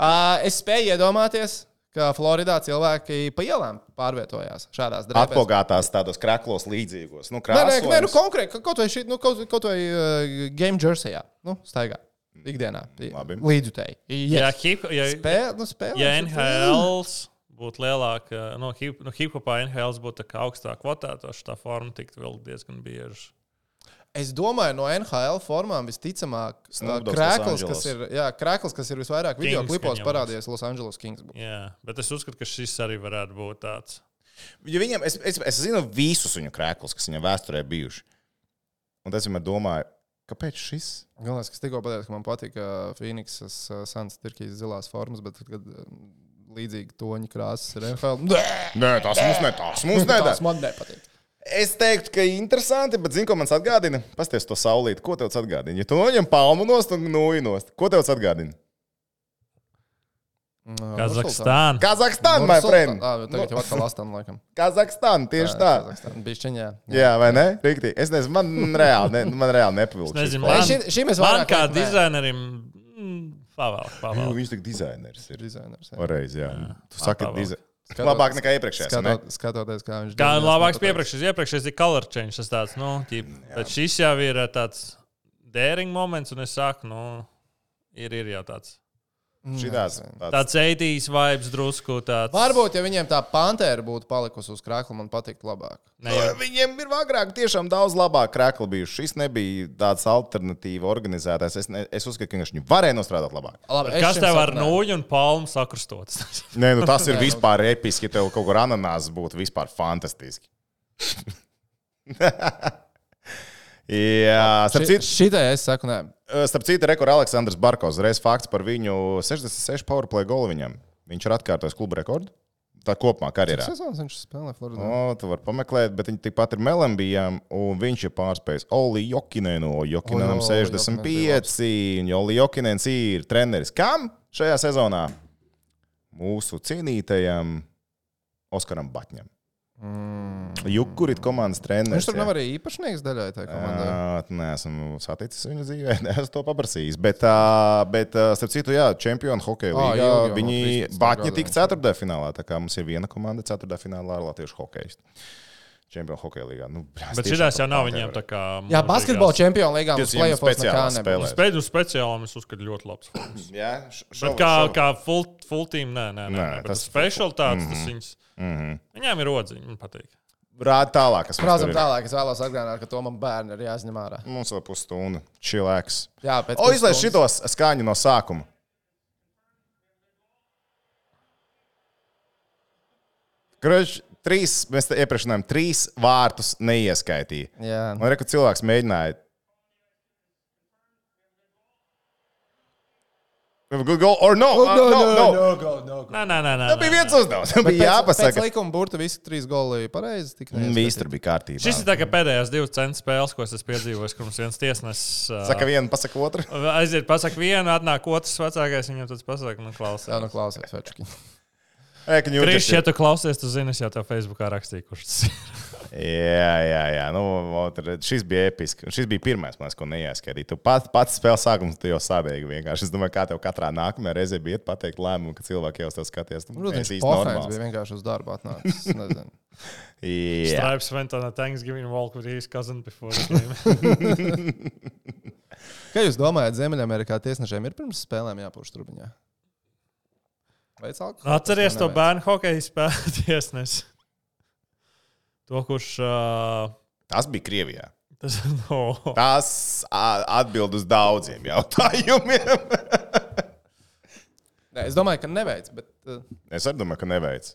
[SPEAKER 1] Ah, es spēju iedomāties, ka Floridā cilvēki pa ielām pārvietojās šādās drēbēs.
[SPEAKER 3] Atpogātās tādos krāklos līdzīgos. Nu,
[SPEAKER 1] Nē, nē, nē nu,
[SPEAKER 3] krāsojums.
[SPEAKER 1] konkrēti, kaut vai, šī, nu, kaut, kaut vai uh, game jerseyā, nu, staigā, ikdienā,
[SPEAKER 3] Mm. Labi.
[SPEAKER 1] līdzjutēji.
[SPEAKER 2] Jā,
[SPEAKER 1] Yes.
[SPEAKER 2] hip, ja,
[SPEAKER 1] Spēle, nu, spēle.
[SPEAKER 2] ja NHL būtu lielāka, no hip, nu, no hip hopā NHL būtu tā kā augstāk kvotēta, tad tā forma tiktu vēl diezgan bieži.
[SPEAKER 1] Es domāju, no NHL formām visticamāk, uh,
[SPEAKER 3] Snoop Dogg's
[SPEAKER 1] krēkls,
[SPEAKER 3] Los
[SPEAKER 1] kas
[SPEAKER 3] Angeles.
[SPEAKER 1] ir, jā, krēkls, kas ir visvairāk
[SPEAKER 2] Kings,
[SPEAKER 1] video klipos
[SPEAKER 2] gan jau
[SPEAKER 1] parādījies Los Angeles Kings. būtu.
[SPEAKER 2] Jā, bet es uzskatu, ka šis arī varētu būt tāds.
[SPEAKER 3] Ja viņam, es, es, es zinu visus viņu krēklus, kas viņam vēsturē bijuši. Un es vienmēr domāju, kāpēc šis?
[SPEAKER 1] Galvenais, kas tikko pateica, ka man patika Phoenixas uh, Suns Tirkijas zilās formas, bet kad uh, līdzīgi toņa krāsas ir NFL. Nē,
[SPEAKER 3] Nē, tas mums ne, tas mums
[SPEAKER 1] tas
[SPEAKER 3] ne.
[SPEAKER 1] man nepatīk.
[SPEAKER 3] Es teiktu, ka interesanti, bet zinu, ko man tas atgādina. Pasties to saulīti, ko tev tas atgādina? Ja tu noņem palmu nost un nūjinost, ko tev tas atgādina?
[SPEAKER 1] Mm, Nursultā-
[SPEAKER 2] Kazahstāna.
[SPEAKER 3] Kazahstāna, Ah, my
[SPEAKER 1] Nursultā-
[SPEAKER 3] friend!
[SPEAKER 1] Ā, Ah, bet Tagad jau atkal Astan, laikam.
[SPEAKER 3] Kazahstāna, tieši tā.
[SPEAKER 1] Bišķiņā.
[SPEAKER 3] Jā, vai ne? Rikti. Es nezinu, man reāli, ne, man reāli
[SPEAKER 2] Es
[SPEAKER 3] nepavilk. šis
[SPEAKER 2] nezinu,
[SPEAKER 3] palmu.
[SPEAKER 2] man-
[SPEAKER 1] Šim, šim es Nu,
[SPEAKER 2] Man
[SPEAKER 1] vairāk
[SPEAKER 2] kā
[SPEAKER 1] laikam, nē.
[SPEAKER 2] dizainerim, mm, pavēl,
[SPEAKER 3] Jū,
[SPEAKER 2] pavēl.
[SPEAKER 3] Viņš tik dizainers ir.
[SPEAKER 1] Dizainers, jā.
[SPEAKER 3] Pareiz, jā. Tu saki,
[SPEAKER 2] Labāk.
[SPEAKER 3] dizainers.
[SPEAKER 1] Skatot-
[SPEAKER 3] Labāk nekā iepriekšējais. ne?
[SPEAKER 1] Skatot, skatoties, kā viņš
[SPEAKER 2] Kā
[SPEAKER 1] dizaineris,
[SPEAKER 2] labāks
[SPEAKER 1] man patīk.
[SPEAKER 2] piepriekšējais, iepriekšējais ir color change. Tas tāds, nu, ķip,
[SPEAKER 1] Mm,
[SPEAKER 2] bet šis jau ir ā, tāds dēring moments, un es saku, nu, ir, ir jau tāds.
[SPEAKER 1] Mm,
[SPEAKER 3] Šitās. tāds-
[SPEAKER 2] Tāds 80s vibes drusku tāds.
[SPEAKER 1] Varbūt, ja viņiem tā pantēra būtu palikusi uz krākla, man patiktu labāk.
[SPEAKER 2] Ne, jo,
[SPEAKER 3] Nu, Viņiem ir agrāk tiešām daudz labāk krākli bijuši. Šis nebija tāds alternatīva organizētājs. Es, ne, es uzskatu, ka viņš viņu varēja nostrādāt labāk.
[SPEAKER 1] Labi, es
[SPEAKER 2] kas
[SPEAKER 1] šim
[SPEAKER 2] tev ar
[SPEAKER 1] sarunāju.
[SPEAKER 2] nūju un palmu sakrustots?
[SPEAKER 3] Nē, nu tas ir
[SPEAKER 1] Nē, nu-
[SPEAKER 3] vispār episki. Tev kaut kur ananās būtu vispār fantastiski. Jā, starp
[SPEAKER 1] Ši-
[SPEAKER 3] citu,
[SPEAKER 1] Šitai es saku, nē,
[SPEAKER 3] Eh, starp citu rekords Aleksandrs Barkovs. Reiz fakts par viņu 66 powerplay golu viņam. Viņš ir atkārtojis klubu rekordu. Tā kopumā karjerā.
[SPEAKER 1] sezonas viņš spēlē Floridā.
[SPEAKER 3] O, tu vari pameklēt, bet viņi tikpat ir Melnbijam, un viņš ir pārspējis Oli Jokinēnu.
[SPEAKER 1] O,
[SPEAKER 3] Jokinēnam
[SPEAKER 1] jā,
[SPEAKER 3] 65, un Oli Jokinēns ir treneris. Kam šajā sezonā? Mūsu cienītajam Oskaram Batņam. Mm. Jukurit komandas treneris.
[SPEAKER 1] Viņš tur
[SPEAKER 3] jā.
[SPEAKER 1] nav arī īpašnieks daļai tajā komandai.
[SPEAKER 3] Ā, Nē, esmu saticis viņu dzīvē, neesmu to paprasījis. Bet, ā, bet ā, starp citu, jā, čempionu hokeja
[SPEAKER 1] Ā,
[SPEAKER 3] līnijā
[SPEAKER 1] ilgi jau no
[SPEAKER 3] viņi
[SPEAKER 1] 13
[SPEAKER 3] Bāķi
[SPEAKER 1] gadiem.
[SPEAKER 3] tika ceturtajā finālā. Tā kā mums ir viena komanda ceturtajā finālā ar Latviešu hokeju. Čempionu hokeja līnijā. Nu, brās,
[SPEAKER 2] Bet šitās jau nav viņiem tā kā.
[SPEAKER 1] Jā, basketbola čempionu līgā mums
[SPEAKER 3] Jūs viņiem
[SPEAKER 1] play-offs nekā
[SPEAKER 3] speciāli
[SPEAKER 1] nebija.
[SPEAKER 3] spēlē.
[SPEAKER 2] Spēļu speciālam es uzskatu ļoti labs. forms.
[SPEAKER 3] Jā,
[SPEAKER 2] Bet kā, kā full, full team, nē, nē, nē, nē
[SPEAKER 3] Nē,
[SPEAKER 2] tas
[SPEAKER 3] tas-
[SPEAKER 2] special tāds, tas viņus. Viņām ir rodziņi, man patīk.
[SPEAKER 3] Rāda Mhm. tālāk, kas mums
[SPEAKER 1] Prāzam
[SPEAKER 3] tur ir.
[SPEAKER 1] tālāk, es vēlos atgādināt, ka to man bērni ir jāizņem ārā.
[SPEAKER 3] Mums vēl pusstunda. Čilēks.
[SPEAKER 1] Jā, pēc
[SPEAKER 3] O, izlaiž
[SPEAKER 1] pusstundas.
[SPEAKER 3] šitos skaņu no sākuma. Kruč, trīs, mēs te iepriekš runājām, trīs vārtus neieskaitīja.
[SPEAKER 1] Jā,
[SPEAKER 3] Man liekas, cilvēks mēģināja Have a good goal or no? Uh, no, no.
[SPEAKER 1] go, no, go.
[SPEAKER 2] Nē, nē, nē. nē,
[SPEAKER 3] Tā bija
[SPEAKER 2] nē.
[SPEAKER 3] viens uzdevums. Tā bija
[SPEAKER 1] Pēc
[SPEAKER 3] jāpasaka.
[SPEAKER 1] likuma burta visi trīs goli pareizi. tik
[SPEAKER 3] Mm,
[SPEAKER 1] neizskatīt.
[SPEAKER 3] Viss tur bija kārtībā.
[SPEAKER 2] Šis ir tā kā pēdējās divas cenu spēles, ko es esmu piedzīvojis, kur mums viens tiesnesis ā,
[SPEAKER 3] Saka vienu, pasaka otru.
[SPEAKER 2] aiziet, pasakā vienu, atnāk otrs vecākais, viņam tas pasakā, nu,
[SPEAKER 1] Jā,
[SPEAKER 2] klausies.
[SPEAKER 1] nu klausies, večuki.
[SPEAKER 3] Ej, ka New
[SPEAKER 2] Krišs,
[SPEAKER 3] Jersey-
[SPEAKER 2] ja tu klausies, tu zini, es jau tev Facebookā rakstīju, kurš tas ir.
[SPEAKER 3] Jā, jā, jā. Nu, vot, redz, šis bija episks. Šis bija pirmais, man liekas, ko neieskaitīju. Tu pats, pats spēles sākums tu jau sābēji vienkārši. Es domāju, kā tev katrā nākamajā reizē bija iet pateikt lēmumu, ka cilvēki jau uz tevi skaties. Nu,
[SPEAKER 1] Protams,
[SPEAKER 3] mēs
[SPEAKER 1] viņš
[SPEAKER 3] īsti
[SPEAKER 1] pofēns
[SPEAKER 3] normāls.
[SPEAKER 1] bija vienkārši uz darbu atnācis. es nezinu.
[SPEAKER 3] Jā.
[SPEAKER 2] Stripes went on a Thanksgiving walk with his cousin before the game.
[SPEAKER 1] Kā jūs domājat, Ziemeļamerikā tiesnešiem ir pirms spēlēm jāpūš turbiņā? Vai cēlāk?
[SPEAKER 2] Nu, Atceries to bērnu hokeja spēli tiesnesi. To, kurš. ā,
[SPEAKER 3] Tas bija Krievijā.
[SPEAKER 2] Tas no.
[SPEAKER 3] Tas ā, atbild uz daudziem jautājumiem.
[SPEAKER 1] Nē, es domāju, ka neveic, bet. uh,
[SPEAKER 3] es arī domāju, ka neveic.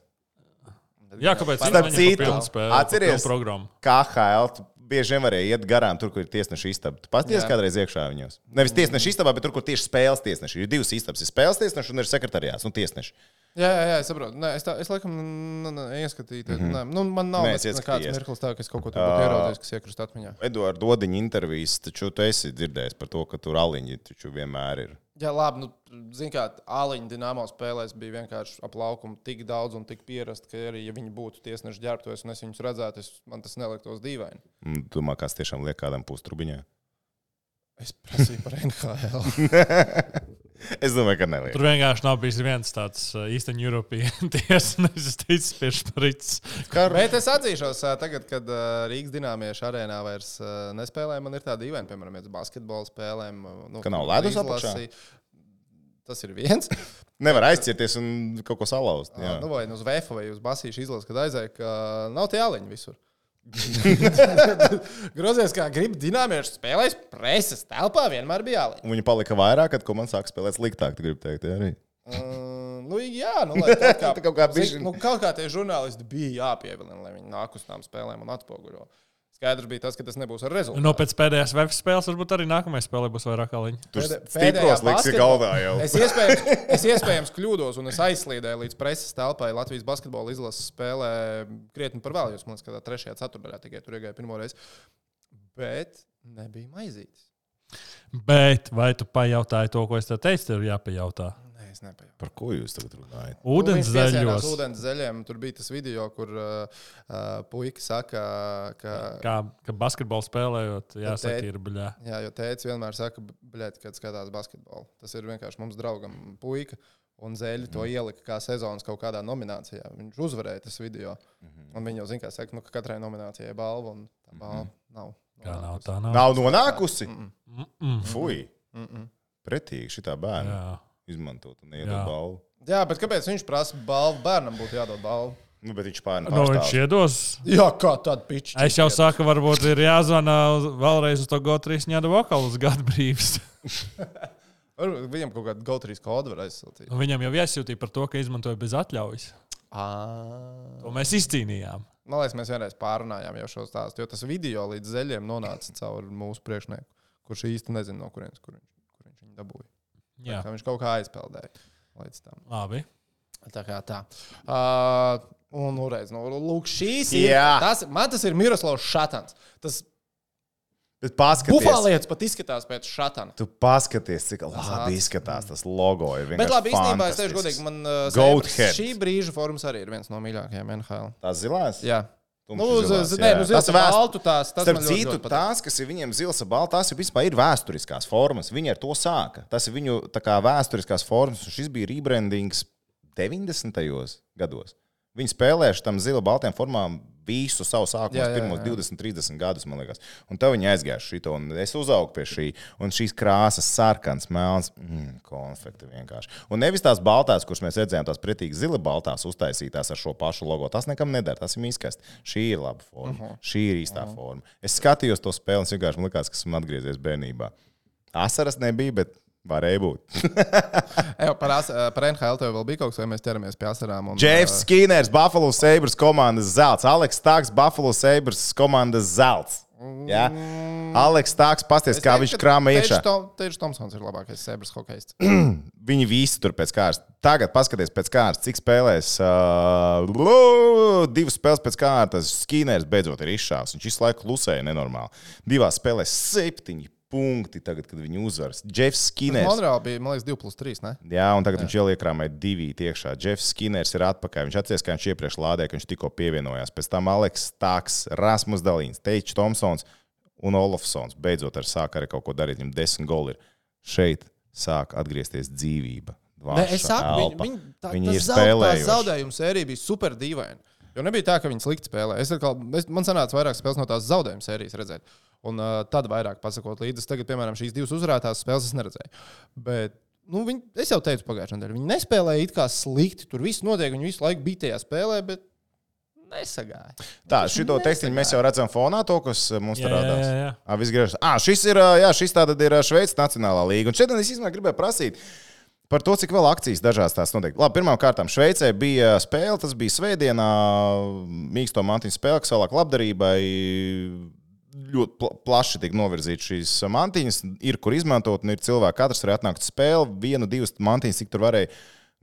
[SPEAKER 2] Jā, kāpēc?
[SPEAKER 1] Starp
[SPEAKER 2] Viņam ir
[SPEAKER 3] citu,
[SPEAKER 2] pilna spēle,
[SPEAKER 3] atceries-
[SPEAKER 2] pilna programma.
[SPEAKER 3] KHL tu bieži vien varēja iet garām tur, kur ir tiesneša istaba. Tu pats tiesi
[SPEAKER 1] Jā.
[SPEAKER 3] kādreiz iekšā viņos. Nevis tiesneša istabā, bet tur, kur tieši spēles tiesneši. Ir divas istabas. Ir spēles tiesneši un ir sekretariāts un tiesneši.
[SPEAKER 1] Jā, jā, jā, es saprotu. Nē, es, tā, es laikam n- n- ieskatīju. Mm -hmm. nu, man nav
[SPEAKER 3] Mhm. Nē,
[SPEAKER 1] Nē,
[SPEAKER 3] es Ah.
[SPEAKER 1] nekāds
[SPEAKER 3] ieskatījos.
[SPEAKER 1] mirklis, tā, ka es kaut ko tādu ieraudzīju, kas iekrist atmiņā.
[SPEAKER 3] Eduards Dodiņa intervijas, taču tu esi dzirdējis par to, ka tur aliņi taču vienmēr ir.
[SPEAKER 1] Jā, labi. Nu, Ziniet, kā Āliņa dīnāmā spēlēs bija vienkārši ap laukumu tik daudz un tik pierast, ka arī, ja viņi būtu tiesneši ģērbtojas un es viņus redzētu, es, man tas neliktos dīvaini.
[SPEAKER 3] Un tu Domā, kas tiešām liek kādam pustrubiņā?
[SPEAKER 1] Es prasīju par NHL.
[SPEAKER 3] es domāju, ka neliek.
[SPEAKER 2] Tur vienkārši nav bijis viens tāds ā, īstenībā Eiropiešu tiesnesis, ticis pie šprits.
[SPEAKER 1] Bet es atzīšos, ā, tagad, kad ā, Rīgas dīnāmiešu arēnā vairs ā, nespēlē, man ir tāda dīvaina, piemēram, pēc basketbola spēlēm. ā, Nu,
[SPEAKER 3] Ka nav ledus
[SPEAKER 1] izlasi. Tas ir viens.
[SPEAKER 3] Nevar aizcieties un kaut ko salauzt. Jā.
[SPEAKER 1] Jā. Nu, vai nu uz VF vai uz Basīšu izlases, kad aizēja, ka nav tie aliņi visur. Grozies, kā gribi dīnāmiešu spēlēs, preses telpā vienmēr bija aliņi.
[SPEAKER 3] Un Viņi palika vairāk, kad komanda sāk spēlēt sliktāk. Tu gribi teikt, jā, arī.
[SPEAKER 1] Uh, nu, jā, nu, lai kaut kā,
[SPEAKER 3] Tu kaut kā
[SPEAKER 1] zini,
[SPEAKER 3] bišķiņ-
[SPEAKER 1] nu, kaut kā tie žurnālisti bija jāpievilina, lai viņi nāk uz tām spēlēm un atspoguļo. Skaidrs bija tas, ka tas nebūs ar rezultātu.
[SPEAKER 2] No pēc pēdējās web spēles varbūt arī nākamajā spēlē būs vairāk aliņu.
[SPEAKER 3] Tur
[SPEAKER 1] Pēdē-
[SPEAKER 3] stipros
[SPEAKER 1] pēdējā
[SPEAKER 3] liks
[SPEAKER 1] basketbol-
[SPEAKER 3] galvā jau.
[SPEAKER 1] Es iespējams, es iespējams kļūdos, un es aizslīdēju līdz preses telpai Latvijas basketbola izlases spēlē krietni par vēlu. Jūs man skatāt, trešajā ceturtajā tikai tur iegāja pirmo reizi. Bet nebija maizītes.
[SPEAKER 2] Bet vai tu pajautāji to, ko es tev teicu, tev ir jāpajautā?
[SPEAKER 1] Nē, es nepajautāju.
[SPEAKER 3] Par ko jūs tagad runājat?
[SPEAKER 2] Ūdens
[SPEAKER 1] zaļos.
[SPEAKER 2] zaļos.
[SPEAKER 1] Nu, Ūdens zaļiem. Tur bija tas video, kur uh, uh, puika saka, ka.
[SPEAKER 2] Kā, kā basketbolu spēlējot, jāsaka,
[SPEAKER 1] tēt-
[SPEAKER 2] ir baļā.
[SPEAKER 1] Jā, jo tēvs vienmēr saka, blēdi, kad skatās basketbolu. Tas ir vienkārši mums draugam, puika. Un zēļi to ielika kā sezonas kaut kādā nominācijā. Viņš uzvarēja tas video. Un viņi jau zina, kā saka, nu, ka katrai nominācijai ir balva. Un tā balva nav.
[SPEAKER 2] Kā nav, tā nav.
[SPEAKER 3] Nav nonākusi?
[SPEAKER 2] Mm.
[SPEAKER 3] Fui!
[SPEAKER 1] Mm-mm.
[SPEAKER 3] Pretīgi šitā bērna
[SPEAKER 2] Jā.
[SPEAKER 3] izmantot un
[SPEAKER 2] Jā.
[SPEAKER 3] iedot balvu.
[SPEAKER 1] Jā, bet kāpēc viņš prasa balvu? Bērnam būtu jādod balvu.
[SPEAKER 3] Nu, bet viņš pārnāk.
[SPEAKER 2] Nu, viņš iedos.
[SPEAKER 1] Jā, kā tāda piča.
[SPEAKER 2] Es jau saku, varbūt ir jāzvanā uz- vēlreiz uz to Gotrīs ņēmu vokalu uz gadu brīvs.
[SPEAKER 1] Varbūt Viņam kaut kāda gautrīs kodu var aizsūtīt.
[SPEAKER 2] Un viņam jau iesūtīja par to, ka izmantoja bez atļaujas.
[SPEAKER 1] Ā.
[SPEAKER 2] To mēs izcīnījām.
[SPEAKER 1] Man liekas, mēs vienreiz pārunājām jau šo stāstu, jo tas video līdz zeļiem nonāca caur mūsu priekšnieku, kurš īsti nezina, no kurienes kur viņš, kur viņš viņu dabūja.
[SPEAKER 2] Jā,
[SPEAKER 1] Kā viņš kaut kā aizpeldēja līdz tam.
[SPEAKER 2] labi.
[SPEAKER 1] Tā kā tā. Uh, un uzreiz, nu, lūk, šīs ir.
[SPEAKER 3] Jā.
[SPEAKER 1] Tas, man tas ir Miroslavs Šatans. Tas
[SPEAKER 3] Bet paskaties,
[SPEAKER 1] bufālietis pat izskatās pēc šatana.
[SPEAKER 3] tu paskaties, cik labi izskatās tas logo. ir
[SPEAKER 1] Bet
[SPEAKER 3] vienkārši
[SPEAKER 1] labi, īstenībā es
[SPEAKER 3] fantastisks.
[SPEAKER 1] teikšu godīgi, man uh,
[SPEAKER 3] Goat
[SPEAKER 1] Sabres
[SPEAKER 3] head.
[SPEAKER 1] šī brīža formas arī ir viens no mīļākajiem NHL.
[SPEAKER 3] Tās zilās?
[SPEAKER 1] Jā.
[SPEAKER 3] Tumši
[SPEAKER 1] Nu, uz,
[SPEAKER 3] zilās,
[SPEAKER 1] uz,
[SPEAKER 3] jā,
[SPEAKER 1] nē,
[SPEAKER 3] jā.
[SPEAKER 1] uz zilās
[SPEAKER 3] Tas vēst-
[SPEAKER 1] baltu tās. Tas
[SPEAKER 3] Starp
[SPEAKER 1] man ļoti,
[SPEAKER 3] citu,
[SPEAKER 1] ļoti patīk.
[SPEAKER 3] tās, kas ir viņiem zils un balts, tās ir, vispār ir vēsturiskās formas. Viņi ar to sāka. Tas ir viņu tā kā, vēsturiskās formas, un šis bija rebrandings 90. gados. Viņi spēlējuši tam zila baltajām formām visu savu sākumu,
[SPEAKER 1] Jā, jā,
[SPEAKER 3] pirmos
[SPEAKER 1] jā.
[SPEAKER 3] 20, 30 gadus, man liekas. Un tā viņi aizgāja šito, un es uzaugu pie šī. Un šīs krāsas, sarkans, melns, mm, konfekti vienkārši. Un nevis tās baltās, kuras mēs redzējām, tās pretīgi zila baltās uztaisītās ar šo pašu logo. Tas nekam neder, tas ir mīskais. Šī ir laba forma, uh -huh. šī ir īstā uh -huh. forma. Es skatījos to spēli, un es vienkārši man liekas, ka esmu atgriezies bērnībā. Asaras nebija, bet varēja būt.
[SPEAKER 1] Ej, par, as, par NHL tev vēl bija kaut kas, vai mēs ķeramies pie asarām? un,
[SPEAKER 3] Džefs Skinners, Buffalo Sabres komandas zelts, Aleks Stāks, Buffalo Sabres komandas zelts. Jā, Aleks Tāks, pasties, kā viņš krāma iekšā.
[SPEAKER 1] Teiks Tomsons ir labākais sebras hokejists.
[SPEAKER 3] Viņi visi tur pēc kārtas. Tagad paskatieties pēc kārtas, cik spēlēs. Uh, lū, divas spēles pēc kārtas. Skinērs beidzot ir izšāvis. Viņš visu laiku klusēja nenormāli. Divās spēlēs septiņi punkti tagad, kad viņi uzvaras. Džefs Skinērs.
[SPEAKER 1] Monreālā bija, man liekas, 2 plus 3. Ne?
[SPEAKER 3] Jā, un tagad Jā. viņš jau iekrāmēja divi iekšā. Džefs Skinners ir atpakaļ. Viņš atcerās, ka viņš iepriekš lādēja, ka viņš tikko pievienojās. Pēc tam Aleks Tāks, Rasmus Dalīns, Teičs Tomsons un Olofsons beidzot ar sāk arī kaut ko darīt. Viņam desmit goli ir. Šeit sāk atgriezties dzīvība.
[SPEAKER 1] Ne, es saku, viņi, viņi, tā, viņi ir spēlējuši. Tā zaudējuma sērija bija super dīvaina. Jo nebija tā, ka viņi slikti spēlēja. Es atkal, es, man sanāca vairāk spēles no tās zaudējuma sērijas redzēt. Un uh, tad vairāk pasakot līdzi. Es Tagad, piemēram, šīs divas uzvarētās spēles es neredzēju. Bet, nu, viņi, es jau teicu pagājušajā nedēļā, viņi nespēlēja it kā slikti. Tur viss notiek, viņi visu laiku bija tajā spēlē, bet nesagāja.
[SPEAKER 3] Tā, šito tekstu mēs jau redzam fonā, to, kas uh, mums
[SPEAKER 2] Jā,
[SPEAKER 3] tur
[SPEAKER 2] jā,
[SPEAKER 3] rādās.
[SPEAKER 2] jā, jā.
[SPEAKER 3] Ah, viss griežas. Ah, šis ir, ā, jā, šis tātad ir ā, Šveices Nacionālā līga. Un šeit es īstenībā gribēju prasīt. Par to, cik vēl akcijas dažās tās notiek. Labi, pirmkārt, Šveicē bija spēle, tas bija Svētdienā, mīksto mantiņu spēle, kas vēlāk labdarībai ļoti pla plaši tika novirzīta šīs mantiņas. Ir kur izmantot, un ir cilvēki, katrs var atnākt uz spēli, vienu, divas mantiņas, cik tur varēja.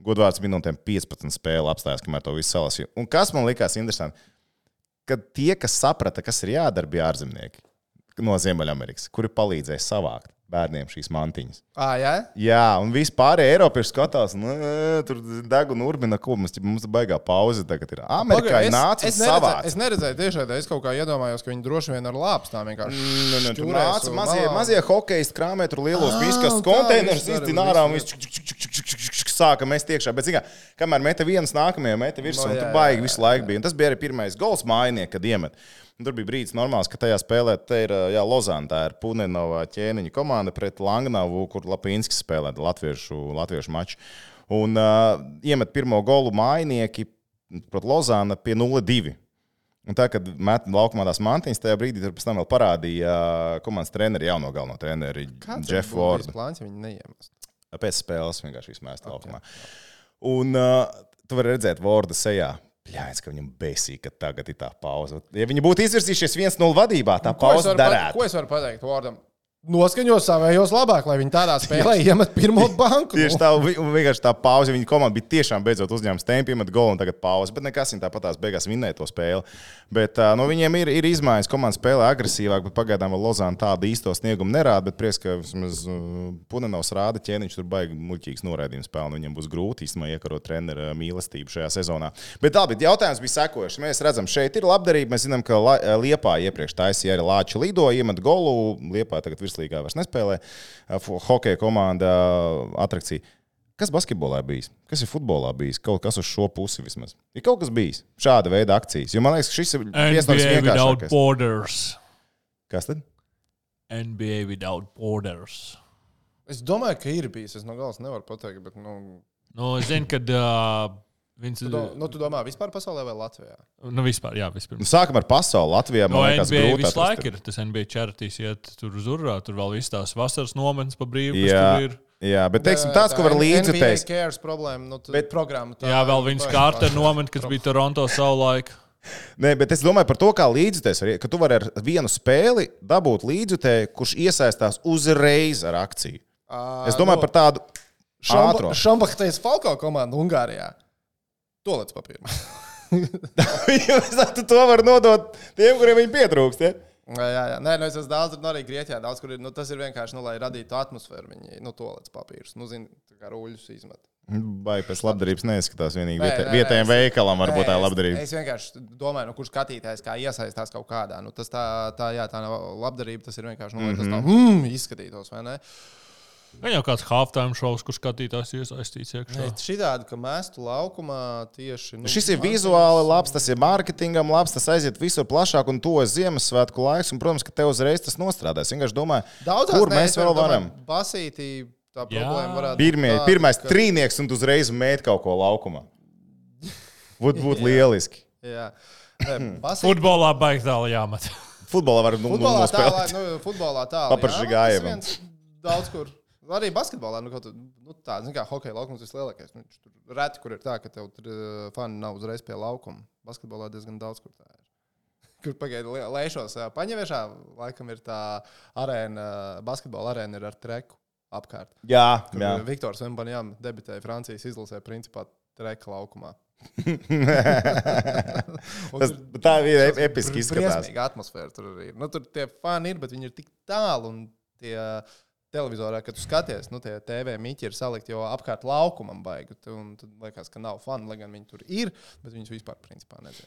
[SPEAKER 3] Godvārds minūtēm 15 spēle apstājās, kamēr to visu salasīju. Un kas man likās interesanti, ka tie, kas saprata, kas ir jādara, bija ārzemnieki no Ziemeļamerikas, kuri palīdzēja savākt bērniem šīs mantiņas.
[SPEAKER 1] Ah, jā?
[SPEAKER 3] Jā, un vispār Eiropieši skatās, nu, ē, tur deg un urbina, ko mums, mums baigā pauze tagad ir. Amerikā
[SPEAKER 1] Pagaid,
[SPEAKER 3] nāca
[SPEAKER 1] es neredzēju,
[SPEAKER 3] savākt.
[SPEAKER 1] es neredzēju tiešai, es kaut kā iedomājos, ka viņi droši vien ar lāpstām vienkārši
[SPEAKER 3] Nu, nu, tur
[SPEAKER 1] šķūrēs
[SPEAKER 3] nāca
[SPEAKER 1] un
[SPEAKER 3] mazie,
[SPEAKER 1] malā.
[SPEAKER 3] mazie hokeji, krāpē tur lielos
[SPEAKER 1] Ah,
[SPEAKER 3] viskas
[SPEAKER 1] un tā
[SPEAKER 3] konteinerus,
[SPEAKER 1] viņš darīja
[SPEAKER 3] izdzina ārā un
[SPEAKER 1] visu,
[SPEAKER 3] viņš čuk, čuk, čuk, čuk, čuk, čuk, čuk, sāka mest iekšā. Bet, zināmā mērā, kamēr meta viens nākamajā, meta virsū,
[SPEAKER 1] No,
[SPEAKER 3] un
[SPEAKER 1] jā,
[SPEAKER 3] tur
[SPEAKER 1] jā,
[SPEAKER 3] baigi
[SPEAKER 1] jā,
[SPEAKER 3] visu laiku bija. Un tas bija arī pirmais gols mājiņā, kad iemet. Un tur bija brīdis, normāls, ka tajā spēlē te ir jā, Lozāna, tā ir Punenova ķēniņa komanda pret Langnavu, kur Lapīnskis spēlē latviešu, latviešu maču. Un uh, iemet pirmo golu mājiņieki pret Lozānu pie 0-2. Un tā, kad metam laukumā tās mantiņas, tajā brīdī tur pēc tam vēl parādīja ā, komandas treneri, jauno galveno treneri,
[SPEAKER 1] Kāds ir
[SPEAKER 3] Jeffu
[SPEAKER 1] būtu bijis
[SPEAKER 3] Fordu.
[SPEAKER 1] plāns, ja viņi neiemest?
[SPEAKER 3] Pēc spēles vienkārši mest laukumā. Un uh, tu vari redzēt Vorda sejā. Pļāvis, ka viņam besīk, ka tagad ir tā pauze. Ja viņi būtu izvirsījušies 1-0 vadībā, tā
[SPEAKER 1] Nu, Ko es
[SPEAKER 3] pauze
[SPEAKER 1] varu pat- Ko
[SPEAKER 3] darētu.
[SPEAKER 1] es varu pateikt Vārdam? Noskaņo savējos labāk, lai viņi tādā spēlē iemet pirmo banku.
[SPEAKER 3] Tieši tā, vi- un vienkārši tā pauze. Viņa komanda bija tiešām beidzot uzņēmusi tempu, iemet golu un tagad pauze. Bet nekas viņa tāpat tās beigās vinnēja to spēli. Bet uh, no viņiem ir, ir izmaiņas. Komanda spēlē agresīvāk, bet pagaidām vēl Lozāna tādu īsto sniegumu nerāda. Bet prieks, ka vismaz uh, Punenovs rāda ķēniņš, tur baigi muļķīgs noraidījums spēlē. Viņam būs grūti īstenībā iekarot treneru uh, mīlestību šajā sezonā. Bet tā, bet jautājums bija sekojošs. Mēs redzam, šeit ir labdarība. Mēs zinām, ka La- eh, Liepā iepriekš taisīja arī Lāča lido, iemet golu. Liepā tagad virslīgā vairs nespēlē. Uh, fo- Hokeja komanda uh, atrakcija. Kas basketbolā bijis? Kas ir futbolā bijis? Kaut kas uz šo pusi vismaz. Ir kaut kas bijis šāda veida akcijas. Jo man liekas, ka šis ir viens no
[SPEAKER 2] NBA without
[SPEAKER 3] vienkāršākajiem.
[SPEAKER 2] borders.
[SPEAKER 3] Kas tad?
[SPEAKER 2] NBA without borders.
[SPEAKER 1] Es domāju, ka ir bijis. Es no galas nevaru pateikt, bet. Nu,
[SPEAKER 2] Nu, es zinu, ka uh, viņš
[SPEAKER 1] tu
[SPEAKER 2] ir.
[SPEAKER 1] do, nu, tu domā, vispār pasaulē vai Latvijā?
[SPEAKER 2] Nu, vispār, jā, vispirms.
[SPEAKER 3] Nu, sākam ar pasauli. Latvijā
[SPEAKER 2] No
[SPEAKER 3] man liekas,
[SPEAKER 2] NBA
[SPEAKER 3] grūti
[SPEAKER 2] visu
[SPEAKER 3] atrast
[SPEAKER 2] laiku ir. Tas NBA čaritīs iet tur uz urā, tur vēl viss tās vasaras nometnes pa brīvu. kas
[SPEAKER 3] Jā,
[SPEAKER 2] tur ir.
[SPEAKER 3] jā, bet teiksim, tāds, ko var līdzi
[SPEAKER 1] Tā ir
[SPEAKER 3] teikt.
[SPEAKER 1] cares problēma. Nu, bet programma. Tā,
[SPEAKER 2] Jā, vēl viens kārta nometne, kas bija Toronto savulaik.
[SPEAKER 3] Nē, bet es domāju par to, kā līdzjutēs, var iet, ka tu vari ar vienu spēli dabūt līdzjutēju, kurš iesaistās uzreiz ar akciju. Es
[SPEAKER 1] nu,
[SPEAKER 3] domāju par tādu ātrumu.
[SPEAKER 1] Šambahtais Falko komanda Ungārijā. Tolets papīra.
[SPEAKER 3] Jūs to var nodot tiem, kuriem viņi pietrūkst. Ja?
[SPEAKER 1] jā, jā, jā. Nē, nu, es esmu daudz, nu, arī Grieķijā daudz, kur ir. Nu, tas ir vienkārši, nu, lai radītu atmosfēru. Viņi, nu, tolets papīrs. Nu, zini, tā kā rūļus izmet.
[SPEAKER 3] Vai pēc labdarības neizskatās vienīgi
[SPEAKER 1] Nē, nē,
[SPEAKER 3] vietē,
[SPEAKER 1] nē,
[SPEAKER 3] vietējiem
[SPEAKER 1] es-
[SPEAKER 3] veikalam, varbūt tā
[SPEAKER 1] Nē,
[SPEAKER 3] ir labdarība.
[SPEAKER 1] Es, es vienkārši domāju, nu, kurš skatītājs kā iesaistās kaut kādā. Nu, tas tā, tā, jā, tā nav labdarība, tas ir vienkārši, nu, lai
[SPEAKER 3] Mhm.
[SPEAKER 1] tas tā mm, izskatītos, vai ne?
[SPEAKER 2] Gan jau kāds halftime šovs, kurš skatītājs iesaistīts iekšā.
[SPEAKER 1] Šitādi, ka mēstu laukumā tieši. Nu,
[SPEAKER 3] Šis ir
[SPEAKER 1] man-
[SPEAKER 3] vizuāli labs, tas ir mārketingam labs, tas aiziet visur plašāk un to Ziemassvētku laiks. Un, protams, ka tev uzreiz tas nostrādās. Es vienkārši domāju,
[SPEAKER 1] Daudzās,
[SPEAKER 3] kur
[SPEAKER 1] nē,
[SPEAKER 3] mēs
[SPEAKER 1] es
[SPEAKER 3] vēl
[SPEAKER 1] domāju,
[SPEAKER 3] varam.
[SPEAKER 1] Basītī tā
[SPEAKER 2] Jā.
[SPEAKER 1] problēma varētu
[SPEAKER 3] Pirmie,
[SPEAKER 1] tāda,
[SPEAKER 3] pirmais
[SPEAKER 1] ka-
[SPEAKER 3] trīnieks un tu uzreiz mēt kaut ko laukumā. Būtu būt lieliski.
[SPEAKER 1] Jā. Nē,
[SPEAKER 3] Hmm.
[SPEAKER 1] Basītī.
[SPEAKER 2] Futbolā baigtā jāmet.
[SPEAKER 3] Futbolā var nu, nu,
[SPEAKER 1] Futbolā tālāk,
[SPEAKER 3] nospēlēt.
[SPEAKER 1] nu, futbolā tālāk.
[SPEAKER 3] Papražigājevam.
[SPEAKER 1] Daudz kur. Arī basketbolā, nu, kaut kā nu, tā, zināmā mērā, hokeja laukums ir lielākais. Nu, viņš tur eh, reti, kur ir tā, ka tev tur uh, fani nav uzreiz pie laukuma. Basketbolā diezgan daudz, kur tā ir. Kur pagaidu li- lēšos, ā, paņeviešā, laikam ir tā arēna, ā, basketbola arēna ir ar treku apkārt.
[SPEAKER 3] Jā,
[SPEAKER 1] Kur
[SPEAKER 3] jā.
[SPEAKER 1] eh, Viktors Vembanjam debitēja Francijas izlasē principā treka laukumā. Un
[SPEAKER 3] Tas,
[SPEAKER 1] tur
[SPEAKER 3] tā ir
[SPEAKER 1] tas
[SPEAKER 3] ep- episki izskatās.
[SPEAKER 1] briesmīga atmosfēra tur arī. ir. Nu, tur tie fani ir, bet viņi ir tik tālu un tie televizorā, kad tu skaties, nu, tie TV mīķi ir salikti jau apkārt laukumam baigi. Tu- Un tad liekas, ka nav fani, lai gan viņi tur ir, bet viņus vispār principā nezinu.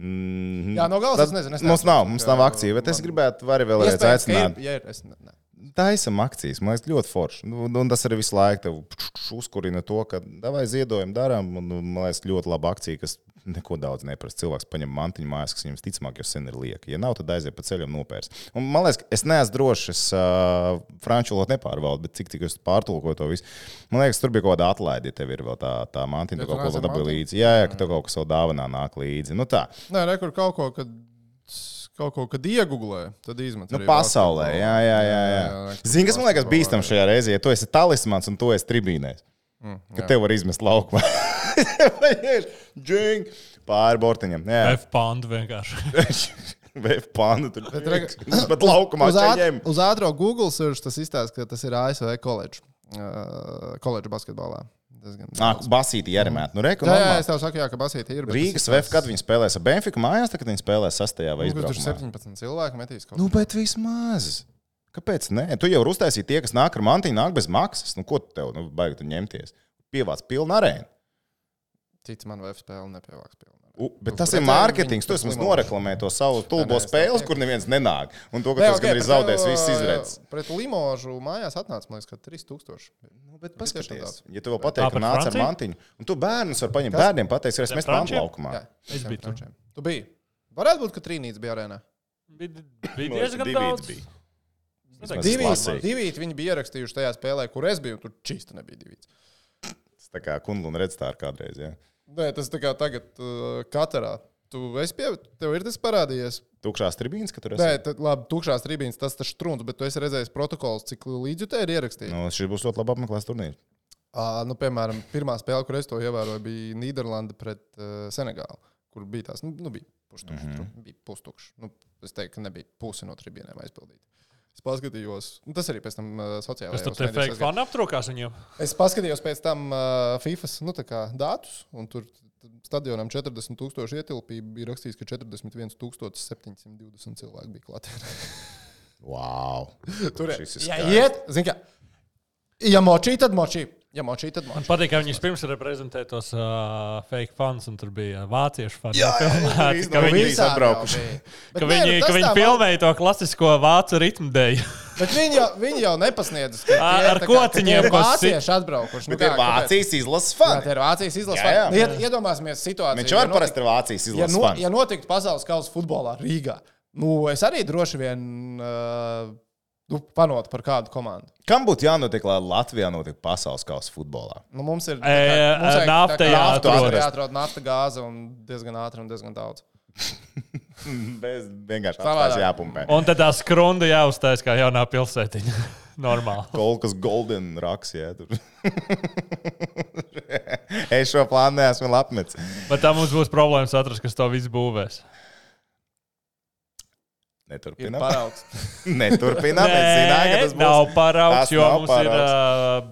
[SPEAKER 3] Mm,
[SPEAKER 1] Jā, no galas
[SPEAKER 3] tad
[SPEAKER 1] es nezinu, es
[SPEAKER 3] Mums
[SPEAKER 1] neesmu
[SPEAKER 3] nav,
[SPEAKER 1] tā
[SPEAKER 3] mums
[SPEAKER 1] kā,
[SPEAKER 3] nav akcija, bet es
[SPEAKER 1] man-
[SPEAKER 3] gribētu arī vēlreiz
[SPEAKER 1] Iespējams, ka
[SPEAKER 3] aicināt.
[SPEAKER 1] ir- Ja ir, es ne, ne.
[SPEAKER 3] Taisam akcijas, man liekas, ļoti forši. Nu, Un tas arī visu laiku tev uzkurina to, ka davai ziedojam, darām. Un, un, Man liekas, ļoti laba akcija, kas neko daudz neprasa. Cilvēks paņem mantiņu mājās, kas viņam ticamāk jau sen ir lieka. Ja nav, tad aiziet pa ceļam nopērs. Un, man liekas, ka es neesmu drošs, es uh, franču valodu nepārvaldu, bet cik tik es pārtulkoju to visu. Man liekas, tur bija kaut kāda atlaide, ja tev ir vēl tā, tā mantiņa,
[SPEAKER 1] Ja
[SPEAKER 3] tu
[SPEAKER 1] tu
[SPEAKER 3] kaut ko vēl
[SPEAKER 1] neesi
[SPEAKER 3] dabūji
[SPEAKER 1] mantiņa?
[SPEAKER 3] līdzi. Jā, jā, ka tev kaut kas vēl dāvanā nāk līdzi. Nu tā,
[SPEAKER 1] Nē, re, kur kaut ko, kad, kaut ko, kad iegūlē, tad izmet.
[SPEAKER 3] Nu,
[SPEAKER 1] arī
[SPEAKER 3] pasaulē,
[SPEAKER 1] basketbolu.
[SPEAKER 3] jā, jā, jā. jā.
[SPEAKER 1] jā, jā.
[SPEAKER 3] Zini, kas man liekas
[SPEAKER 1] Basketbolā,
[SPEAKER 3] bīstams
[SPEAKER 1] jā.
[SPEAKER 3] šajā reizē, ja tu esi talismans un tu esi tribīnēs.
[SPEAKER 1] Mm,
[SPEAKER 3] ka te var izmest laukumā. Džing! Pāri bortiņam.
[SPEAKER 2] F-pandu vienkārši.
[SPEAKER 3] Vēf pānu tur. Bet,
[SPEAKER 1] rega-
[SPEAKER 3] bet laukumā
[SPEAKER 1] uz,
[SPEAKER 3] ķēņiem.
[SPEAKER 1] āt, uz ātrā Google search tas izstāsta, ka tas ir ASV koledža. Uh, koledža basketbolā. Diezgan
[SPEAKER 3] Nā,
[SPEAKER 1] daudz.
[SPEAKER 3] basīti ieremēt. Nu, reku,
[SPEAKER 1] jā, jā, es
[SPEAKER 3] jā,
[SPEAKER 1] tev saku, jā, ka Basīte ir. bet
[SPEAKER 3] Rīgas
[SPEAKER 1] tas
[SPEAKER 3] VF,
[SPEAKER 1] izstāsta-
[SPEAKER 3] kad viņi spēlēs ar Benfiku mājās, tad, kad viņi spēlēs sastajā vai
[SPEAKER 1] Nu, ka Tur ir
[SPEAKER 3] izbraukumā.
[SPEAKER 1] 17 cilvēki metīs kaut ko.
[SPEAKER 3] Nu, bet vismaz. Kāpēc? Nē, tu jau uztaisīji tie, kas nāk ar mantiņu, nāk bez maksas. Nu, ko tu tev, nu, baigi tu ņemties? Pievāc pilnu arēnu.
[SPEAKER 1] Cits man VF spēle nepievāks pilnā.
[SPEAKER 3] U, Bet
[SPEAKER 1] Nu,
[SPEAKER 3] tas ir
[SPEAKER 1] precēji
[SPEAKER 3] mārketings.
[SPEAKER 1] viņi
[SPEAKER 3] Tu
[SPEAKER 1] tas
[SPEAKER 3] vismaz
[SPEAKER 1] limaši.
[SPEAKER 3] noreklamē to savu tulbo
[SPEAKER 1] es tā
[SPEAKER 3] spēli,
[SPEAKER 1] tieku.
[SPEAKER 3] kur neviens nenāk. Un to, ka tas gan arī zaudēs, viss izredzes.
[SPEAKER 1] Pret Limožu mājās atnāca, man liekas, ka 3000.
[SPEAKER 3] Nu, bet
[SPEAKER 1] Nu, tiešām
[SPEAKER 3] paskaties,
[SPEAKER 1] daudz.
[SPEAKER 3] ja tu vēl pateiksi, ka
[SPEAKER 2] pret
[SPEAKER 3] nāc ar
[SPEAKER 2] Franciju?
[SPEAKER 3] mantiņu, un tu bērnus var paņemt bērniem, pateiks, ka es
[SPEAKER 2] Pret
[SPEAKER 3] mestu mantu
[SPEAKER 2] Franciju?
[SPEAKER 3] laukumā.
[SPEAKER 1] Jā,
[SPEAKER 2] Es
[SPEAKER 1] visiem
[SPEAKER 2] biju tur.
[SPEAKER 1] frančiem. Tu biji. Varētu būt, ka Trīnīts bija arēnā.
[SPEAKER 2] Bija
[SPEAKER 3] Man
[SPEAKER 2] bija
[SPEAKER 3] liekas,
[SPEAKER 2] diezgan
[SPEAKER 3] divīts
[SPEAKER 2] daudz.
[SPEAKER 3] bija.
[SPEAKER 2] Es neteiktu,
[SPEAKER 3] Divīts.
[SPEAKER 1] Divi
[SPEAKER 2] ka
[SPEAKER 3] lasīju.
[SPEAKER 1] divi viņi bija ierakstījuši tajā spēlē, kur es biju, un tur čīsta nebija divi.
[SPEAKER 3] Tas Tā kā kundze un redzstāra kādreiz. Jā.
[SPEAKER 1] Nē, tas tā kā tagad uh, katrā. Tu esi pievienojis, tev ir tas parādījies.
[SPEAKER 3] Tukšās tribīnas, ka tur
[SPEAKER 1] Nē,
[SPEAKER 3] esi.
[SPEAKER 1] tad labi, tukšās tribīnes, tas tas strūns, bet tu esi redzējis protokols, cik līdzi te ir ierakstīts. Nu.
[SPEAKER 3] Nu, šis būs ļoti labi apmeklēts turnīrs.
[SPEAKER 1] Uh, nu, piemēram, pirmā spēle, kur es to ievēroju, bija Nīderlanda pret uh, Senegālu, kur bija tās, nu, nu bija pustukšs. Mm -hmm. Bija pustukšs. Nu, es teiktu, ka nebija pusi no tribīnēm aizpildīta. Es paskatījos, nu, tas arī pēc tam uh, sociālajā
[SPEAKER 2] Tas tur tie fake fani aptrokās viņiem.
[SPEAKER 1] Es paskatījos pēc tam uh, FIFA nu, tā kā datus, un tur stadionam 40,000 ietilpība bija rakstīts, ka 41,720 cilvēku bija klātienē.
[SPEAKER 3] Wow.
[SPEAKER 1] Tur
[SPEAKER 3] Šis ir
[SPEAKER 1] ja
[SPEAKER 3] skaisti.
[SPEAKER 1] iet, zini, kā. Ja močī, tad močī. Ja močī, tad
[SPEAKER 2] Man
[SPEAKER 1] močī.
[SPEAKER 2] patīk, ka viņi pirms reprezentēja tos uh, fake fans, un tur bija vāciešu fani.
[SPEAKER 3] Jā, jā, jā,
[SPEAKER 2] filmēti,
[SPEAKER 3] tur
[SPEAKER 2] ka viņi,
[SPEAKER 3] visi atbraukuši.
[SPEAKER 2] ka
[SPEAKER 3] nu,
[SPEAKER 2] viņi, ka viņi filmēja to klasisko vācu ritmu dēļ.
[SPEAKER 1] Bet viņi jau, viņi jau nepasniedz. ka tie
[SPEAKER 2] Ar-
[SPEAKER 1] ir
[SPEAKER 2] ar
[SPEAKER 1] tā kā-
[SPEAKER 2] kociņiem,
[SPEAKER 1] ka tie ir
[SPEAKER 2] ko
[SPEAKER 1] Vācieši atbraukuši. Nu,
[SPEAKER 3] Bet ir
[SPEAKER 1] kā, kāpēc?
[SPEAKER 3] Vācijas
[SPEAKER 1] Jā,
[SPEAKER 3] izlases
[SPEAKER 1] tie
[SPEAKER 3] fani.
[SPEAKER 1] ir Vācijas izlases.
[SPEAKER 3] Jā, jā.
[SPEAKER 1] fani. Ied- Iedomāsimies situāciju.
[SPEAKER 3] Viņš
[SPEAKER 1] ja
[SPEAKER 3] jau ir
[SPEAKER 1] notiktu-
[SPEAKER 3] parasti ir Vācijas
[SPEAKER 1] ja,
[SPEAKER 3] izlases
[SPEAKER 1] no,
[SPEAKER 3] fani.
[SPEAKER 1] ja notiktu pasaules kausa futbolā Rīgā, nu, es arī droši vien uh, nu, panotu par kādu komandu.
[SPEAKER 3] Kam būtu jānotiek, lai Latvijā notiek pasaules kausa futbolā?
[SPEAKER 1] Nu, mums ir
[SPEAKER 2] Ē,
[SPEAKER 1] mums vajag
[SPEAKER 2] nafta
[SPEAKER 1] tā kā
[SPEAKER 2] jāatrod.
[SPEAKER 1] naftu jāatrod. jāatrod nafta, gāze un diezgan ātri un diezgan daudz.
[SPEAKER 3] Bez vienkārši
[SPEAKER 1] Savādāk.
[SPEAKER 3] atstās jāpumpē.
[SPEAKER 2] Un tad tā skrunda jāuztais kā jaunā pilsētiņa. Normāli.
[SPEAKER 3] Kaut kas golden raks, jā. tur. es šo plānu neesmu vēl apmetis.
[SPEAKER 2] Bet tā mums būs problēmas atrast, kas to visu būvēs.
[SPEAKER 1] Ir
[SPEAKER 3] Neturpinām.
[SPEAKER 1] paraugs.
[SPEAKER 3] Neturpinām. Es zināju, ka tas būs.
[SPEAKER 2] nav
[SPEAKER 3] Tas
[SPEAKER 2] paraugs, jo
[SPEAKER 3] nav
[SPEAKER 2] mums ir uh,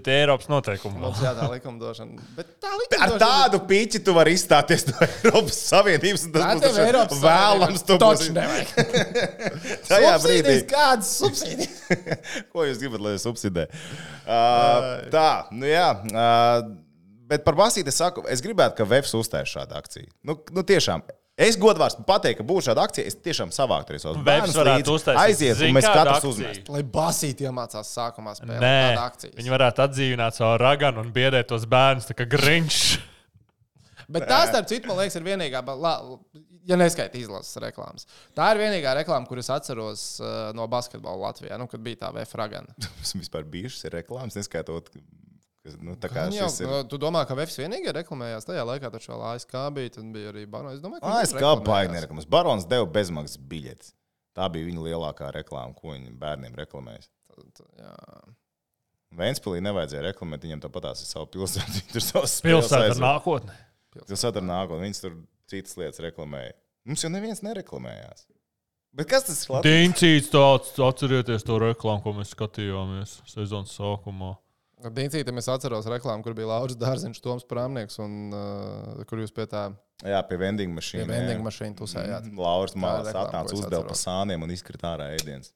[SPEAKER 2] tie Eiropas noteikumi.
[SPEAKER 1] Mums jā, tā likumdošana. Bet tā
[SPEAKER 3] Ar
[SPEAKER 1] likumdošana.
[SPEAKER 3] tādu pīķi tu vari izstāties no Eiropas Savienības. un Tas
[SPEAKER 1] Tā
[SPEAKER 3] būs
[SPEAKER 1] tev
[SPEAKER 3] taču
[SPEAKER 1] Eiropas
[SPEAKER 3] vēlams. Tu būsi
[SPEAKER 1] nevajag.
[SPEAKER 3] tajā brīdī.
[SPEAKER 1] Kādas subsīdijas?
[SPEAKER 3] Ko jūs gribat, lai es subsidēju? Uh, tā, nu jā. Uh, bet par basīti es saku, es gribētu, ka Vēfs uztais šādu akciju. Nu, nu tiešām. Es godvārds pateiktu, ka būs šāda akcija. Es tiešām savāktu arī savus
[SPEAKER 2] Vēfs
[SPEAKER 3] bērnus.
[SPEAKER 2] varētu
[SPEAKER 3] līdzi,
[SPEAKER 2] uztaisīt.
[SPEAKER 3] Aiziet,
[SPEAKER 2] Zini,
[SPEAKER 3] un mēs
[SPEAKER 2] kādu
[SPEAKER 3] katrs
[SPEAKER 2] akciju?
[SPEAKER 3] uzmēsim.
[SPEAKER 1] Lai basīti iemācās sākumā spēlēt
[SPEAKER 2] Nē,
[SPEAKER 1] tādu akciju.
[SPEAKER 2] viņi varētu atdzīvināt savu raganu un biedēt tos bērnus, tā kā grinčs.
[SPEAKER 1] Bet tā, starp citu, man liekas, ir vienīgā, ba- la- ja neskaita izlases reklāmas. Tā ir vienīgā reklāma, kuras atceros uh, no basketbola Latvijā, nu, kad bija tā vēfragana.
[SPEAKER 3] Mums vispār bijušas ir reklāmas, neskaitot. ka- Nu, tā kā
[SPEAKER 1] Gan jau,
[SPEAKER 3] šis ir.
[SPEAKER 1] nu, Tu domā, ka VFS vienīgā reklamējās tajā laikā, taču vēl ASK bija, tad bija arī Bano. Es domāju, ka
[SPEAKER 3] Es kā baigā reklāmas. Barons deva bezmaksas biļetes. Tā bija viņa lielākā reklāma, ko viņa bērniem reklamēja. Vēnspīlī nevajadzēja reklamēt, viņam tāpatās ir sava pilsēta. Viņi tur savas
[SPEAKER 2] Pilsēta
[SPEAKER 3] spēles
[SPEAKER 2] ir nākotne.
[SPEAKER 3] aizved. Pilsēta ar nākotni. Viņas tur citas lietas reklamēja. Mums jau neviens nereklamējās. Bet kas tas ir?
[SPEAKER 2] Dīncīts tāds, atcerieties to reklāmu, ko mēs skatījāmies sezonas sākumā.
[SPEAKER 1] Ar Dīncītam es atceros reklāmu, kur bija Lauris Dārziņš, Toms Prāmnieks, un uh, kur jūs pie tā
[SPEAKER 3] Jā, pie vending mašīnas.
[SPEAKER 1] vending mašīnas tusējāt.
[SPEAKER 3] Lauris Mārs
[SPEAKER 1] reklāma,
[SPEAKER 3] atnāca,
[SPEAKER 1] ko es
[SPEAKER 3] uzdeva pa
[SPEAKER 1] atceros.
[SPEAKER 3] sāniem un izkrita ārā ēdienas.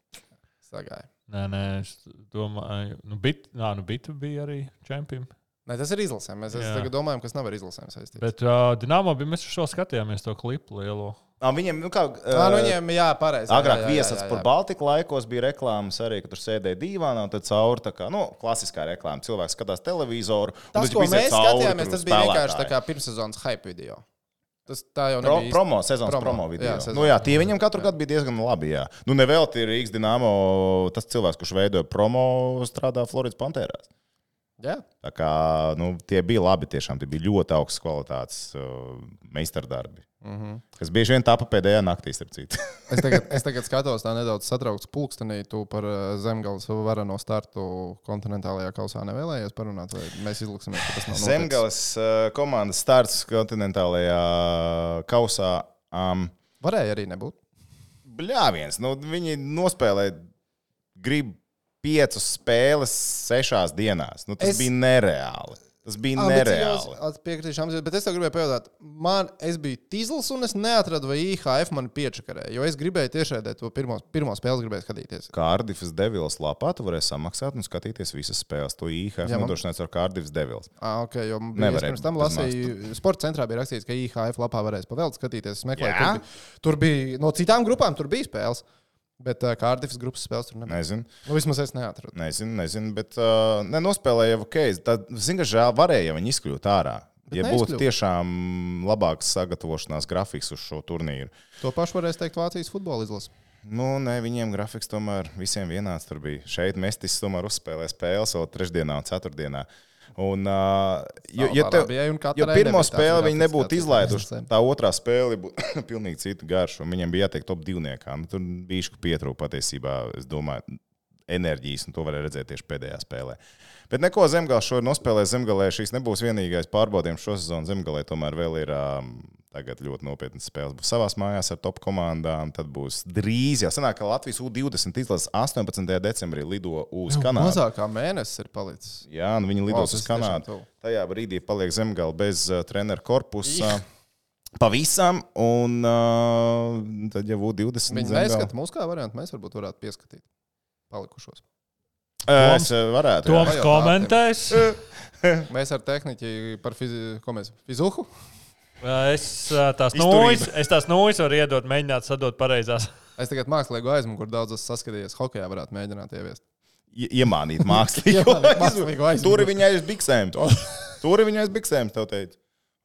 [SPEAKER 1] Sagāja.
[SPEAKER 2] Nē, nē, es domāju, nu, bit, nā, nu bitu bija arī čempions.
[SPEAKER 1] Nē, tas ir izlasēm. Mēs
[SPEAKER 2] Jā.
[SPEAKER 1] tagad domājam, kas nav ar izlasēm saistīts.
[SPEAKER 2] Bet uh, Dienāmā bija mēs jau skatījāmies to klipu lielo.
[SPEAKER 3] Ā, Viņiem, nu kā.
[SPEAKER 1] Ā, nu
[SPEAKER 3] eh,
[SPEAKER 1] viņiem, jā, pareizi. jā,
[SPEAKER 3] Agrāk
[SPEAKER 1] jā, jā,
[SPEAKER 3] viesats
[SPEAKER 1] jā,
[SPEAKER 3] par
[SPEAKER 1] jā.
[SPEAKER 3] Baltiku laikos bija reklāmas arī, ka tur sēdēja divānā un tad cauri tā kā, nu, klasiskā reklāma. Cilvēks skatās televizoru. un
[SPEAKER 1] Tas,
[SPEAKER 3] viņš
[SPEAKER 1] ko
[SPEAKER 3] iziet
[SPEAKER 1] mēs
[SPEAKER 3] cauri
[SPEAKER 1] skatījāmies,
[SPEAKER 3] tur
[SPEAKER 1] tas bija vienkārši tā
[SPEAKER 3] spēlētāji.
[SPEAKER 1] kā pirmssezonas hype video. Tas tā jau
[SPEAKER 3] Pro,
[SPEAKER 1] nebija. īsti-
[SPEAKER 3] promo, sezonas
[SPEAKER 1] Promo.
[SPEAKER 3] promo, promo video.
[SPEAKER 1] Jā,
[SPEAKER 3] Jā,
[SPEAKER 1] sezonas
[SPEAKER 3] nu, jā, tie viņam katru gadu bija diezgan labi. Jā. Nu, nevelti ir Rīgas Dienāmo, tas cilvēks, kurš veidoja promo, strādā Floridas Pantērās.
[SPEAKER 1] Jā,
[SPEAKER 3] Tā kā nu, tie bija labi, tiešām tie bija ļoti augstas kvalitātes uh, meistardarbi.
[SPEAKER 1] mm -hmm.
[SPEAKER 3] Kas bieži vien tāpa pēdējā naktī, starp citu.
[SPEAKER 1] es, tagad, es tagad skatos, tā nedaudz satraukts pulkstenī. Tu par eh, zemgales varano startu kontinentālajā kausā nevēlējies parunāt, vai mēs izliksimies, ka tas nav noticis?
[SPEAKER 3] Zemgales uh, komandas starts kontinentālajā uh, kausā. Um,
[SPEAKER 1] Varēja arī nebūt.
[SPEAKER 3] Bļāviens, nu, viņi nospēlē grib piecas spēles sešās dienās. Nu, tas
[SPEAKER 1] Es- Ah,
[SPEAKER 3] es... bija nereāli. Tas bija nereāli.
[SPEAKER 1] Piekrītīšu, Amzijai, bet es tev gribēju pajautāt, man es biju tīzls un es neatradu, vai IHF man piečakarē, jo es gribēju tiešraidē to pirmo, pirmo spēles gribēju skatīties.
[SPEAKER 3] Kārdifas Devils lapā tu varēji samaksāt un skatīties visas spēles. To IHF
[SPEAKER 1] Jā, man-
[SPEAKER 3] nodrošināts ar Kārdifas Devils.
[SPEAKER 1] Ah, okay, jo man bija- es
[SPEAKER 3] Nevarēja
[SPEAKER 1] pirms tam
[SPEAKER 3] bez
[SPEAKER 1] lasīju, sporta centrā bija rakstīts, ka IHF lapā varēs pavēlēt, skatīties. Es meklēju,
[SPEAKER 3] Jā?
[SPEAKER 1] tur, bija, tur bija no citām grupām, tur bija spēles. Bet uh, Kārdifas grupas spēles tur nebija.
[SPEAKER 3] Nezinu,
[SPEAKER 1] Nu, vismaz es neatradu.
[SPEAKER 3] nezinu, nezinu bet uh, ne, nospēlēja jau ok. Tad, zini, ka žēl varēja viņi izkļūt ārā.
[SPEAKER 1] Bet
[SPEAKER 3] Ja būtu
[SPEAKER 1] neizkļuva.
[SPEAKER 3] tiešām labāks sagatavošanās grafiks uz šo turnīru.
[SPEAKER 1] To pašu varēs teikt Vācijas futbola izlases.
[SPEAKER 3] Nu, nē, viņiem grafiks tomēr visiem vienāds. Tur bija šeit mestis, tomēr uzspēlē spēles vēl trešdienā un ceturtdienā. Un, uh, jo, jo, tev,
[SPEAKER 1] bija un
[SPEAKER 3] jo
[SPEAKER 1] katrai nebija
[SPEAKER 3] pirmo
[SPEAKER 1] tāds
[SPEAKER 3] spēli viņi
[SPEAKER 1] grafiks,
[SPEAKER 3] nebūtu
[SPEAKER 1] kāds ir
[SPEAKER 3] izlaiduši,
[SPEAKER 1] Izlasēm.
[SPEAKER 3] tā otrā spēle būtu pilnīgi cita garša. un Viņiem bija jātiek top divniekā. Nu, tur bija īsi pietrūka patiesībā, es domāju, enerģijas, un to varēja redzēt tieši pēdējā spēlē. Bet neko zemgālē šodien nospēlē. Zemgālē šīs nebūs vienīgais pārbaudījums šosezon. Zemgālē tomēr vēl ir um, tagad ļoti nopietnas spēles. Būs savās mājās ar top komandām. Tad būs drīz, ja sanāk, ka Latvijas U20 izlases 18. decembrī lido uz Kanādu.
[SPEAKER 1] Mazākā mēnesis ir palicis.
[SPEAKER 3] Jā, nu viņi
[SPEAKER 1] Vau, tas
[SPEAKER 3] lidos uz
[SPEAKER 1] tiešām
[SPEAKER 3] Kanādu.
[SPEAKER 1] tuvu.
[SPEAKER 3] Tajā brīdī paliek zemgale bez uh, treneru korpusa. Pavisam, un uh, tad jau būtu 20.
[SPEAKER 1] Viņi
[SPEAKER 3] zemgale.
[SPEAKER 1] neskata mūsu kā variantu. Mēs varbūt varētu pieskatīt palikušos.
[SPEAKER 3] Uh, es uh, varētu. jā.
[SPEAKER 2] Toms komentēs.
[SPEAKER 1] Mēs ar tehniķi par fizi, ko mēs, fizuhu.
[SPEAKER 2] Ā, Es ā, tās nojas,
[SPEAKER 3] Izturība.
[SPEAKER 2] es tās nojas varu iedot, mēģināt sadot pareizās.
[SPEAKER 1] Es tagad mākslīgu aizmuguru daudz esmu saskatījies. Hokejā varētu mēģināt ieviest.
[SPEAKER 3] I- iemānīt mākslīgo
[SPEAKER 1] Iemānīt mākslīgo aizmuguri.
[SPEAKER 3] Tur viņa aiz biksēm. Tur viņa aiz biksēm, tev teica.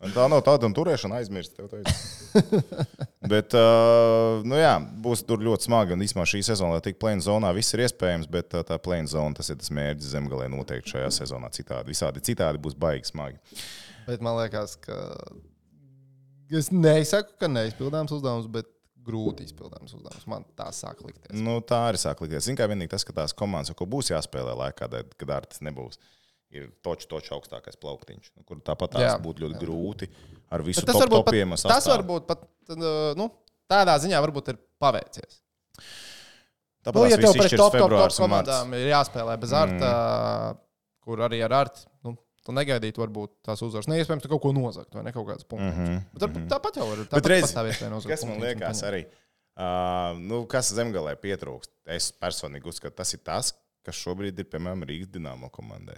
[SPEAKER 3] Un tā nav tāda un turēšana aizmirst. tev teicu. bet, uh, nu jā, būs tur ļoti smagi. Un īsumā šī sezona, lai tik plēna zonā, viss ir iespējams, bet uh, tā plēna zona, tas ir tas mērķis zemgalē noteikti šajā sezonā. Citādi, visādi citādi būs baigi smagi.
[SPEAKER 1] Bet man liekas, ka es nesaku, ka neizpildāms uzdevums, bet grūti izpildāms uzdevums. Man tā sāk likties.
[SPEAKER 3] Nu, tā arī sāk likties. Zinu, kā vienīgi tas, ka tās komandas, ko būs jāspēlē laikā, kad- kad ārtis nebūs. Ir točs, točs augstākais plauktiņš, nu, kur tāpat
[SPEAKER 1] Jā.
[SPEAKER 3] tās būtu ļoti grūti ar visu
[SPEAKER 1] Bet tas varbūt pat,
[SPEAKER 3] topiem.
[SPEAKER 1] tas varbūt pat uh, nu, tādā ziņā varbūt ir paveicies. Nu,
[SPEAKER 3] Tāpēc,
[SPEAKER 1] ja tev pret
[SPEAKER 3] pret
[SPEAKER 1] top, top, top
[SPEAKER 3] komandām.
[SPEAKER 1] komandām ir jāspēlē bez
[SPEAKER 3] Mm.
[SPEAKER 1] arta, kur arī ar arti, nu, tu negaidītu varbūt tās uzvaras. Neiespējams, tu kaut ko nozagt vai ne kaut kādas punktus. Mm
[SPEAKER 3] Mhm,
[SPEAKER 1] -hmm. Bet varbūt tāpat jau var. Tāpat
[SPEAKER 3] reizi,
[SPEAKER 1] pastāv iespēja nozagt
[SPEAKER 3] Kas man
[SPEAKER 1] punktiņus un
[SPEAKER 3] liekas,
[SPEAKER 1] paņemt.
[SPEAKER 3] arī, uh, nu, kas zemgalē pietrūkst, es personīgi uzskatu, tas ir tas, kas šobrīd ir piemēram Rīgas dīnāmo komandai.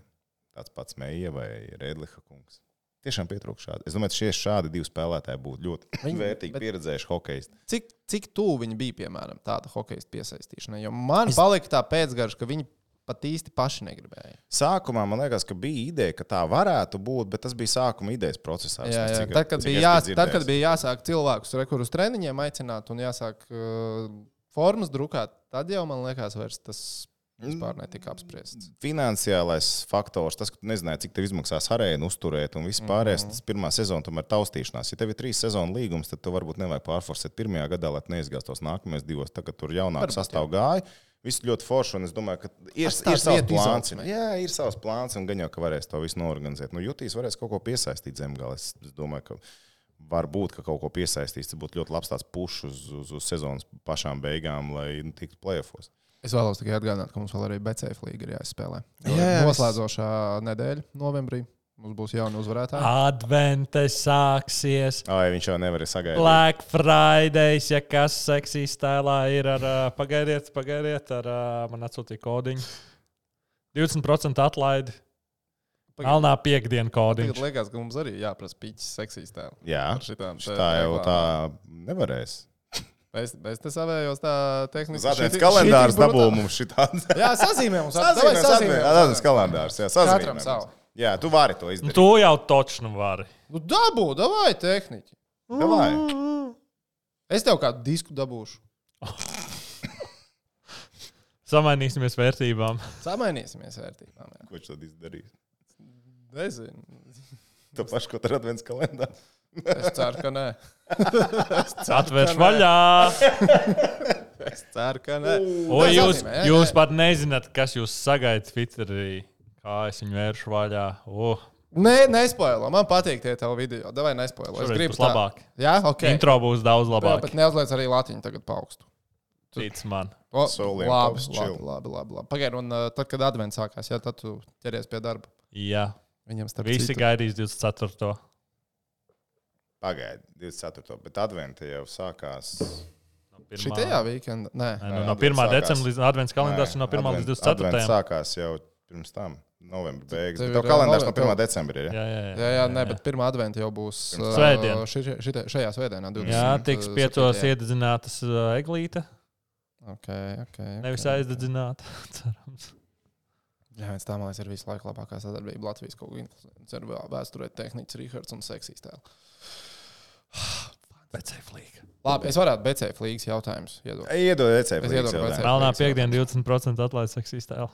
[SPEAKER 3] Tāds pats Meija vai Rēdliha kungs. Tiešām pietrūkst šādi. Es domāju, ka šie šādi divi spēlētāji būtu ļoti
[SPEAKER 1] Viņi-
[SPEAKER 3] Viņi,
[SPEAKER 1] bet-
[SPEAKER 3] vērtīgi bet... pieredzējuši hokeju.
[SPEAKER 1] Cik, cik tuvu viņi bija, piemēram, tāda hokeja piesaistīšanai? Jo man es... palika tā pēcgarša, ka viņi pat īsti paši negribēja.
[SPEAKER 3] Sākumā man liekas, ka bija ideja, ka tā varētu būt, bet tas bija sākuma idejas procesā.
[SPEAKER 1] Jā,
[SPEAKER 3] vismaz,
[SPEAKER 1] jā.
[SPEAKER 3] cik-
[SPEAKER 1] Tad, kad
[SPEAKER 3] cik
[SPEAKER 1] bija
[SPEAKER 3] es
[SPEAKER 1] jā, tad,
[SPEAKER 3] biju
[SPEAKER 1] kad
[SPEAKER 3] dzirdējis.
[SPEAKER 1] bija jāsāk cilvēkus re, kur uz treniņiem aicināt un jāsāk uh, formas drukāt, tad jau man liekas, vairs tas vispār netika apspriests.
[SPEAKER 3] finansiālais faktors, tas, ka tu nezināji, cik tev izmaksās arēnu uzturēt un viss pārējais, tas pirmā sezona tomēr taustīšanās. Ja tev ir trīs sezonu līgums, tad tu varbūt nevajag pārforsēt pirmajā gadā, lai tu neizgāztos nākamajos divos, tagad tur jaunāk sastāv gāja. Viss ļoti forši, un es domāju, ka ir, ir
[SPEAKER 1] Atstāt
[SPEAKER 3] savs
[SPEAKER 1] vietu
[SPEAKER 3] plāns.
[SPEAKER 1] izaugsmei.
[SPEAKER 3] Jā, ir savs plāns, un gan jau, ka varēs to visu noorganizēt. Nu, jutīs, varēs kaut ko piesaistīt zemgālē. Es es domāju, ka Varbūt, ka kaut ko piesaistīs. Tas būtu ļoti labs tāds pušs uz, uz, uz sezonas pašām beigām, lai nu, tiktu plēsofos.
[SPEAKER 1] Es vēlos tikai atgādināt, ka mums vēl arī BCF līga ir jāizspēlē. Jo ir
[SPEAKER 3] Jā, es-
[SPEAKER 1] Noslēdzošā nedēļa, novembrī, mums būs jauni
[SPEAKER 3] Ah,
[SPEAKER 1] uzvarētāji.
[SPEAKER 2] Advente sāksies.
[SPEAKER 3] Ai, viņš jau nevarēja sagaidīt.
[SPEAKER 2] Black Friday, ja kas seksīs tēlā ir ar, ā, pagaidiet, pagaidiet, ar, ā, man atsūtīja kodiņu. 20% atlaidi.
[SPEAKER 1] Pagaid-
[SPEAKER 2] Melnā piekdiena
[SPEAKER 1] Tagad
[SPEAKER 2] kodiņš.
[SPEAKER 1] liekas, ka mums arī jāprasa pīķis seksīs tēlu.
[SPEAKER 3] Jā,
[SPEAKER 1] Ar šitām te
[SPEAKER 3] tā jau
[SPEAKER 1] reklāmām.
[SPEAKER 3] tā nevarēs.
[SPEAKER 1] Es, es te savējos tā tehniski.
[SPEAKER 3] Zeltens
[SPEAKER 1] šitī-
[SPEAKER 3] kalendārs
[SPEAKER 1] šitī brutāli.
[SPEAKER 3] dabū mums šitāds.
[SPEAKER 1] Jā, sazīmē mums.
[SPEAKER 3] Sazīmē,
[SPEAKER 1] Sazīmē,
[SPEAKER 3] sazīmē.
[SPEAKER 1] sazīmē.
[SPEAKER 3] Jā, Zeltens kalendārs. Jā, sazīmē.
[SPEAKER 1] Katram savu.
[SPEAKER 3] Jā, tu vari to
[SPEAKER 2] Nu,
[SPEAKER 3] izdarīt.
[SPEAKER 2] to jau točnu vari.
[SPEAKER 1] Nu, dabū, davai tehniķi.
[SPEAKER 3] Davai.
[SPEAKER 1] Es tev kādu disku dabūšu.
[SPEAKER 2] Samainīsimies vērtībām.
[SPEAKER 1] Samainīsimies vērtībām. Jā.
[SPEAKER 3] Ko viņš tad izdarīs?
[SPEAKER 1] Nezinu.
[SPEAKER 3] To pašu, ko tur advents kalendārs.
[SPEAKER 1] Es ceru, ka nē.
[SPEAKER 2] Atvērš vaļā.
[SPEAKER 1] Es ceru, ka nē.
[SPEAKER 2] O,
[SPEAKER 1] Tas
[SPEAKER 2] jūs,
[SPEAKER 1] atzīmē, jā,
[SPEAKER 2] jūs
[SPEAKER 1] jā.
[SPEAKER 2] pat nezināt, kas jūs sagaida Twitterī. Kā es viņu vēršu vaļā. Oh,
[SPEAKER 1] Nē, nespoilo. Man patīk tie tavi video. Davai nespoilo. Es
[SPEAKER 2] Šoreiz
[SPEAKER 1] gribu
[SPEAKER 2] būs labāk.
[SPEAKER 1] Tā. Jā, ok.
[SPEAKER 2] okay. Intro būs daudz
[SPEAKER 1] Jā,
[SPEAKER 2] labāk.
[SPEAKER 1] bet neuzliec arī latiņu tagad paaugstu. tu-
[SPEAKER 2] Tic man.
[SPEAKER 1] O,
[SPEAKER 3] Soliem
[SPEAKER 1] labi,
[SPEAKER 3] tavs chill.
[SPEAKER 1] labi, labi, labi, labi. Pagaid, un uh, tad, kad advents sākās, jā, tad tu ķeries pie darba.
[SPEAKER 2] Jā,
[SPEAKER 1] Viņam starp
[SPEAKER 2] visi
[SPEAKER 1] citu.
[SPEAKER 2] gaidīs 24.
[SPEAKER 3] Pagaidi, 24. Bet adventā jau sākās.
[SPEAKER 2] No pirmā-
[SPEAKER 1] Šitajā weekendā? Nē.
[SPEAKER 2] Nē, nu,
[SPEAKER 3] Nē,
[SPEAKER 2] no 1.
[SPEAKER 3] advents sākās.
[SPEAKER 2] decembra līdz adventas kalendārs ir no 1. līdz
[SPEAKER 3] Advents
[SPEAKER 2] 24.
[SPEAKER 3] sākās jau pirms tam, novembra beigas.
[SPEAKER 1] Tev
[SPEAKER 3] Bet
[SPEAKER 1] ir,
[SPEAKER 3] Tev kalendārs
[SPEAKER 1] novem-
[SPEAKER 3] no 1. decembra ir. Ja?
[SPEAKER 2] Jā, jā, jā.
[SPEAKER 1] Jā, jā, nē, bet pirmā adventā jau būs.
[SPEAKER 3] Pirms
[SPEAKER 1] ā,
[SPEAKER 2] Svētdien.
[SPEAKER 1] ši- šitai- Šajā svētdienā, 20.
[SPEAKER 2] jā
[SPEAKER 1] uh,
[SPEAKER 2] tiks piecos iedzinātas uh, eglīte,
[SPEAKER 1] Okay, okay,
[SPEAKER 2] nevis
[SPEAKER 1] okay.
[SPEAKER 2] aizdedzināta. Cerams.
[SPEAKER 1] Jā, viens tā, man liekas, ir vislabākā labākā sadarbība Latvijas kaut kāda influencer vēl vēsturē, tehnikas, Rīgards un seksīs tēls.
[SPEAKER 2] Bet cik flīga.
[SPEAKER 1] Labi, es varētu BCF līgas jautājumus iedot.
[SPEAKER 3] Iedod E ECB.
[SPEAKER 1] Es iedodu E ECB.
[SPEAKER 2] Melnā
[SPEAKER 1] flīgs, jā.
[SPEAKER 2] piekdiena 20% atlaides seksīs tēlu.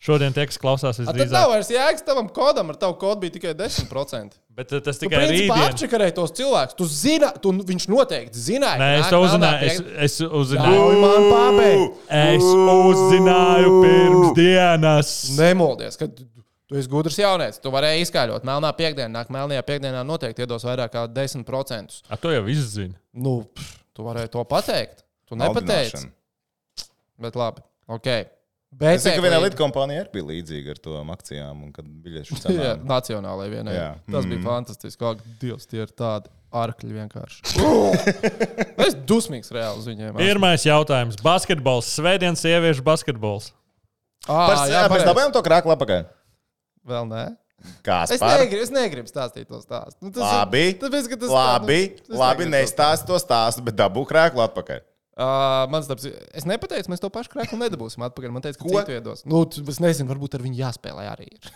[SPEAKER 2] Šodien tie, kas klausās,
[SPEAKER 1] A, Tad nav
[SPEAKER 2] visdrīzāk.
[SPEAKER 1] vairs jēgas tavam kodam, ar tavu kodu bija tikai 10%.
[SPEAKER 2] Bet uh, tas
[SPEAKER 1] Tu
[SPEAKER 2] tikai
[SPEAKER 1] principā
[SPEAKER 2] rītdien.
[SPEAKER 1] apčakarēji tos cilvēkus. Tu zini, tu, viņš noteikti zināja.
[SPEAKER 2] Nē,
[SPEAKER 1] ka
[SPEAKER 2] es
[SPEAKER 1] nāk melnā
[SPEAKER 2] to uzzināju. Es,
[SPEAKER 1] piekdiena.
[SPEAKER 2] es uzzināju.
[SPEAKER 1] Ļauj man pabeigt.
[SPEAKER 2] Es uzzināju pirms dienas.
[SPEAKER 1] Nemoldies, ka tu tu esi gudrs jaunietis. Tu varēji izskaidrot, melnā piekdienā, nāk melnajā piekdienā noteikti iedos vairāk kā 10%.
[SPEAKER 2] Ar to jau izzinu.
[SPEAKER 1] Nu, pff, tu varēji to pateikt. Tu nepateici. Bet labi, ok. Bet
[SPEAKER 3] Es zinu, ka vienā lidkompānijā arī bija līdzīga ar to akcijām, un kad biļešu
[SPEAKER 1] Jā,
[SPEAKER 3] cenām.
[SPEAKER 1] nacionālajai vienai. Jā.
[SPEAKER 3] Jā.
[SPEAKER 1] Tas bija
[SPEAKER 3] Mm.
[SPEAKER 1] fantastiski. Kā Dievs, tie ir tādi arkļi vienkārši. es dusmīgs reāli uz viņiem. esmu.
[SPEAKER 2] Pirmais jautājums. Basketbols. Svētdienas sieviešu basketbols.
[SPEAKER 1] Ā,
[SPEAKER 3] Par-
[SPEAKER 1] jā,
[SPEAKER 3] jā, Mēs
[SPEAKER 1] pareizi.
[SPEAKER 3] dabējām to krāklu apakā.
[SPEAKER 1] Vēl nē.
[SPEAKER 3] Kāds
[SPEAKER 1] Es negribu, es negribu stāstīt to stāstu. Nu, tas ir-
[SPEAKER 3] Labi,
[SPEAKER 1] tāpēc, ka tas tā-
[SPEAKER 3] labi,
[SPEAKER 1] nu, es
[SPEAKER 3] labi
[SPEAKER 1] negribu to
[SPEAKER 3] nestāst to stāstu, bet dabū krāklu apakā.
[SPEAKER 1] Uh, man stāps, es nepateicu, mēs to pašu krāpstu nedabūsim atpakaļ. Man teica, ka
[SPEAKER 3] Ko?
[SPEAKER 1] citu iedos. Nu, t- es nezinu, varbūt ar viņu jāspēlē arī. Ir.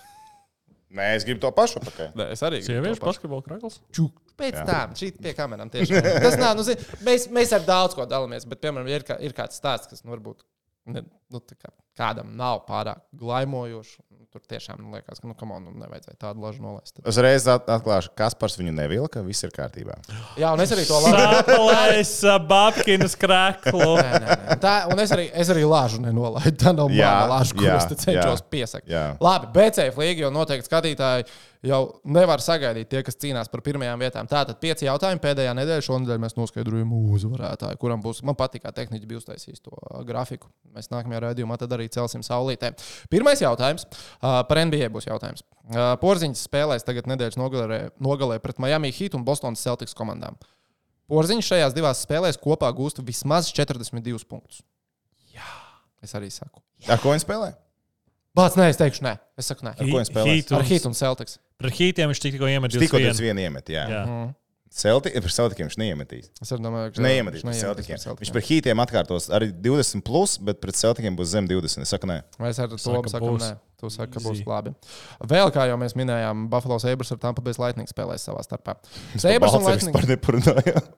[SPEAKER 3] Nē, es gribu to pašu apakā.
[SPEAKER 1] Nē, es arī.
[SPEAKER 2] Sieviešu basketbola krāklis.
[SPEAKER 1] čūku. Pēc Jā. tam, šī pie kamerām tieši tas nav. Nu, zin, mēs, mēs ar daudz ko dalāmies, bet, piemēram, ir, kā, ir kāds stāsts, kas nu, varbūt ne, nu, tā kā, kādam nav pārāk glaimojošs. un Tur tiešām nu, liekas, ka, nu, kam nu, nevajadzēja tādu lažu nolaist. Tad-
[SPEAKER 3] Uzreiz at- atklāšu, kas par viņu nevilka. Viss ir kārtībā.
[SPEAKER 1] Jā, un es arī to lažu.
[SPEAKER 2] Sāpēs uh, Babkinas krāklu.
[SPEAKER 1] Nē, nē, nē. Tā, un es arī, es arī lāžu nenolaidu. Tā nav
[SPEAKER 3] Jā,
[SPEAKER 1] mana lāža, ko
[SPEAKER 3] jā,
[SPEAKER 1] es te cenšos
[SPEAKER 3] jā,
[SPEAKER 1] piesakt.
[SPEAKER 3] jā.
[SPEAKER 1] Labi, BCF līga jau noteikti skatītāji jau nevar sagaidīt tie, kas cīnās par pirmajām vietām. Tātad pieci jautājumi pēdējā nedēļā. Šonadēļ mēs noskaidrojam uzvarētāju, kuram būs. Man patīk, kā tehniķis bija uztaisījis to uh, grafiku. Mēs nākamajā raidījumā tad arī celsim saulītē. Pirmais jautājums uh, par NBA būs jautājums. Uh, Porziņš spēlēs tagad nedēļas nogalē, nogalē pret Miami Heat un Bostonas Celtics komandām. Porziņš šajās divās spēlēs kopā gūst vismaz 42 punktus. Jā, es arī saku.
[SPEAKER 3] Ar ko viņi spēlē?
[SPEAKER 1] Bācis, nē, es teikšu, nē, es saku, nē.
[SPEAKER 3] Ar ko viņš spēlē?
[SPEAKER 1] Ar Heat un Celtics.
[SPEAKER 2] Par hītiem viņš tikko iemet
[SPEAKER 3] Tikko Mm.
[SPEAKER 2] 21.
[SPEAKER 3] 21 iemet. Jā,
[SPEAKER 2] Jā.
[SPEAKER 3] jā. Celti, par Celtikiem viņš neiemetīs.
[SPEAKER 1] Es arī domāju,
[SPEAKER 3] Viņš
[SPEAKER 1] ka
[SPEAKER 3] neiemetīs par Celtikiem. Viņš par Hītiem atkārtos arī 20, plus, bet pret Celtikiem būs zem 20. Es saku, nē,
[SPEAKER 1] Mēs ar to
[SPEAKER 2] Saka,
[SPEAKER 1] sakām,
[SPEAKER 2] būs.
[SPEAKER 1] nē, tu saki, ka būs
[SPEAKER 2] Easy.
[SPEAKER 1] labi. Vēl kā jau mēs minējām, Buffalo Sabres ar Tampa Bay Lightning spēlēs savā starpā. Sabres un
[SPEAKER 3] Balts
[SPEAKER 1] Lightning.
[SPEAKER 3] vispār neparunājām.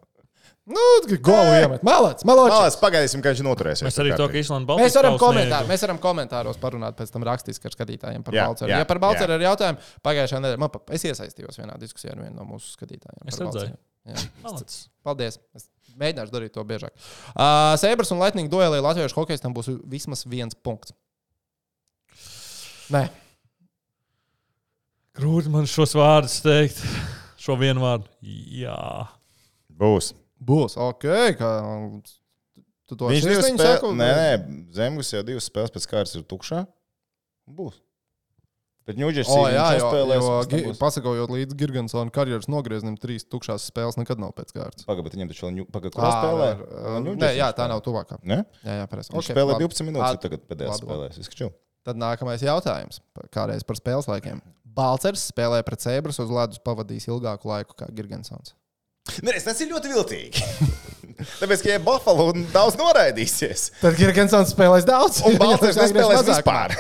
[SPEAKER 1] Nu, golu iemet. Malāts, malāts.
[SPEAKER 3] Malās, pagaidīsim, kā viņš noturēsies.
[SPEAKER 2] Mēs arī to, ka Islandas balsts.
[SPEAKER 1] Mēs varam, komentāru, mēs varam komentāros parunāt pēc tam rakstiski ar skatītājiem par
[SPEAKER 3] Jā,
[SPEAKER 1] Balceru.
[SPEAKER 3] jā,
[SPEAKER 1] Ja par Balceru
[SPEAKER 3] jā.
[SPEAKER 1] ir jautājumi, pagājušā nedēļa man pa, es iesaistījos vienā diskusijā ar vienu no mūsu skatītājiem.
[SPEAKER 2] Es
[SPEAKER 1] par
[SPEAKER 2] redzēju.
[SPEAKER 1] Balceru. Jā.
[SPEAKER 2] Malāts.
[SPEAKER 1] Paldies! Es mēģināšu darīt to biežāk. Uh, Sēbras un Latvijas duelī Latviešu hokeistam būs vismaz viens punkts. Nē,
[SPEAKER 2] Grūti man šos vārdus teikt. Šo vienu vārdu. Jā.
[SPEAKER 3] Būs.
[SPEAKER 1] Būs, ok. Kā, tu to
[SPEAKER 3] Viņš
[SPEAKER 1] šis
[SPEAKER 3] divas
[SPEAKER 1] viņu
[SPEAKER 3] spēles.
[SPEAKER 1] seku?
[SPEAKER 3] Nē, nē, Zemgus jau divas spēles pēc kārtas ir tukšā. Būs. Bet Ņūdžers
[SPEAKER 1] O, jā,
[SPEAKER 3] jau
[SPEAKER 1] jo,
[SPEAKER 3] spēlēs.
[SPEAKER 1] jo,
[SPEAKER 3] pēc tam
[SPEAKER 1] gi-
[SPEAKER 3] būs.
[SPEAKER 1] pasakojot līdz Gigantsona karjeras nogriezienam, trīs tukšās spēles nekad nav pēc kārtas.
[SPEAKER 3] Pagaid, bet viņam taču vēl ņu- pagaid, kur
[SPEAKER 1] Ā,
[SPEAKER 3] spēlē?
[SPEAKER 1] ar-
[SPEAKER 3] Vēl
[SPEAKER 1] ar-
[SPEAKER 3] Ņūdžers
[SPEAKER 1] Nē, jā,
[SPEAKER 3] viņš
[SPEAKER 1] tā
[SPEAKER 3] spēlē.
[SPEAKER 1] nav tuvākā.
[SPEAKER 3] Ne?
[SPEAKER 1] Jā, jā, pareizi.
[SPEAKER 3] Viņš
[SPEAKER 1] Ok,
[SPEAKER 3] spēlē
[SPEAKER 1] labi.
[SPEAKER 3] 12
[SPEAKER 1] Labi.
[SPEAKER 3] minūtes, tagad pēdējā
[SPEAKER 1] Labi, labi.
[SPEAKER 3] spēlē. Viss čau.
[SPEAKER 1] Tad nākamais jautājums. pa- Kādreiz par spēles laikiem. Balcers spēlē pret sēbras uz ledus pavadīs ilgāku laiku kā Gigantsons.
[SPEAKER 3] Nē, reiz, tas ir ļoti viltīgi. Tāpēc, ka ja Buffalo daudz noraidīsies,
[SPEAKER 1] Tad Gigantsons spēlēs daudz,
[SPEAKER 3] un Baltārs nespēlēs vispār.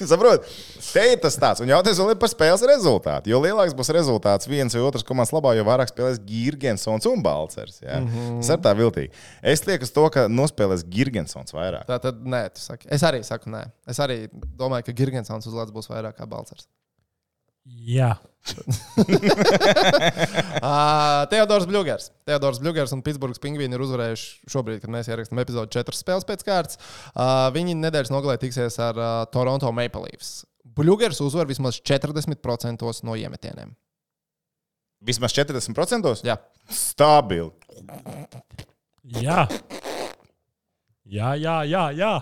[SPEAKER 3] Saprotiet, te ir tas tāds. Un jautājums vēl ir par spēles rezultātu. Jo lielāks būs rezultāts viens vai otrs komandas labā, jo vairāk spēlēs Gigantsons un Baltārs. Mm -hmm. Tas ir tā viltīgi. Es lieku uz to, ka nospēlēs Gigantsons vairāk.
[SPEAKER 1] Tā tad nē, tu saki. Es arī saku, nē. Es arī domāju, ka Gigantsons uz ledus būs vairāk kā Balcers.
[SPEAKER 2] Jā.
[SPEAKER 1] Ā, Teodors Bļūgers. Teodors Bļūgers un Pitsburgas pingvīni ir uzvarējuši šobrīd, kad mēs ierakstām epizodi četras spēles pēc kārtas. Ā, Viņi nedēļas nogalē tiksies ar ā, Toronto Maple Leafs. Bļūgers uzvar vismaz 40% no iemetieniem.
[SPEAKER 3] Vismaz 40%?
[SPEAKER 1] Jā,
[SPEAKER 3] Stabili.
[SPEAKER 2] Jā. Jā, jā, jā. jā.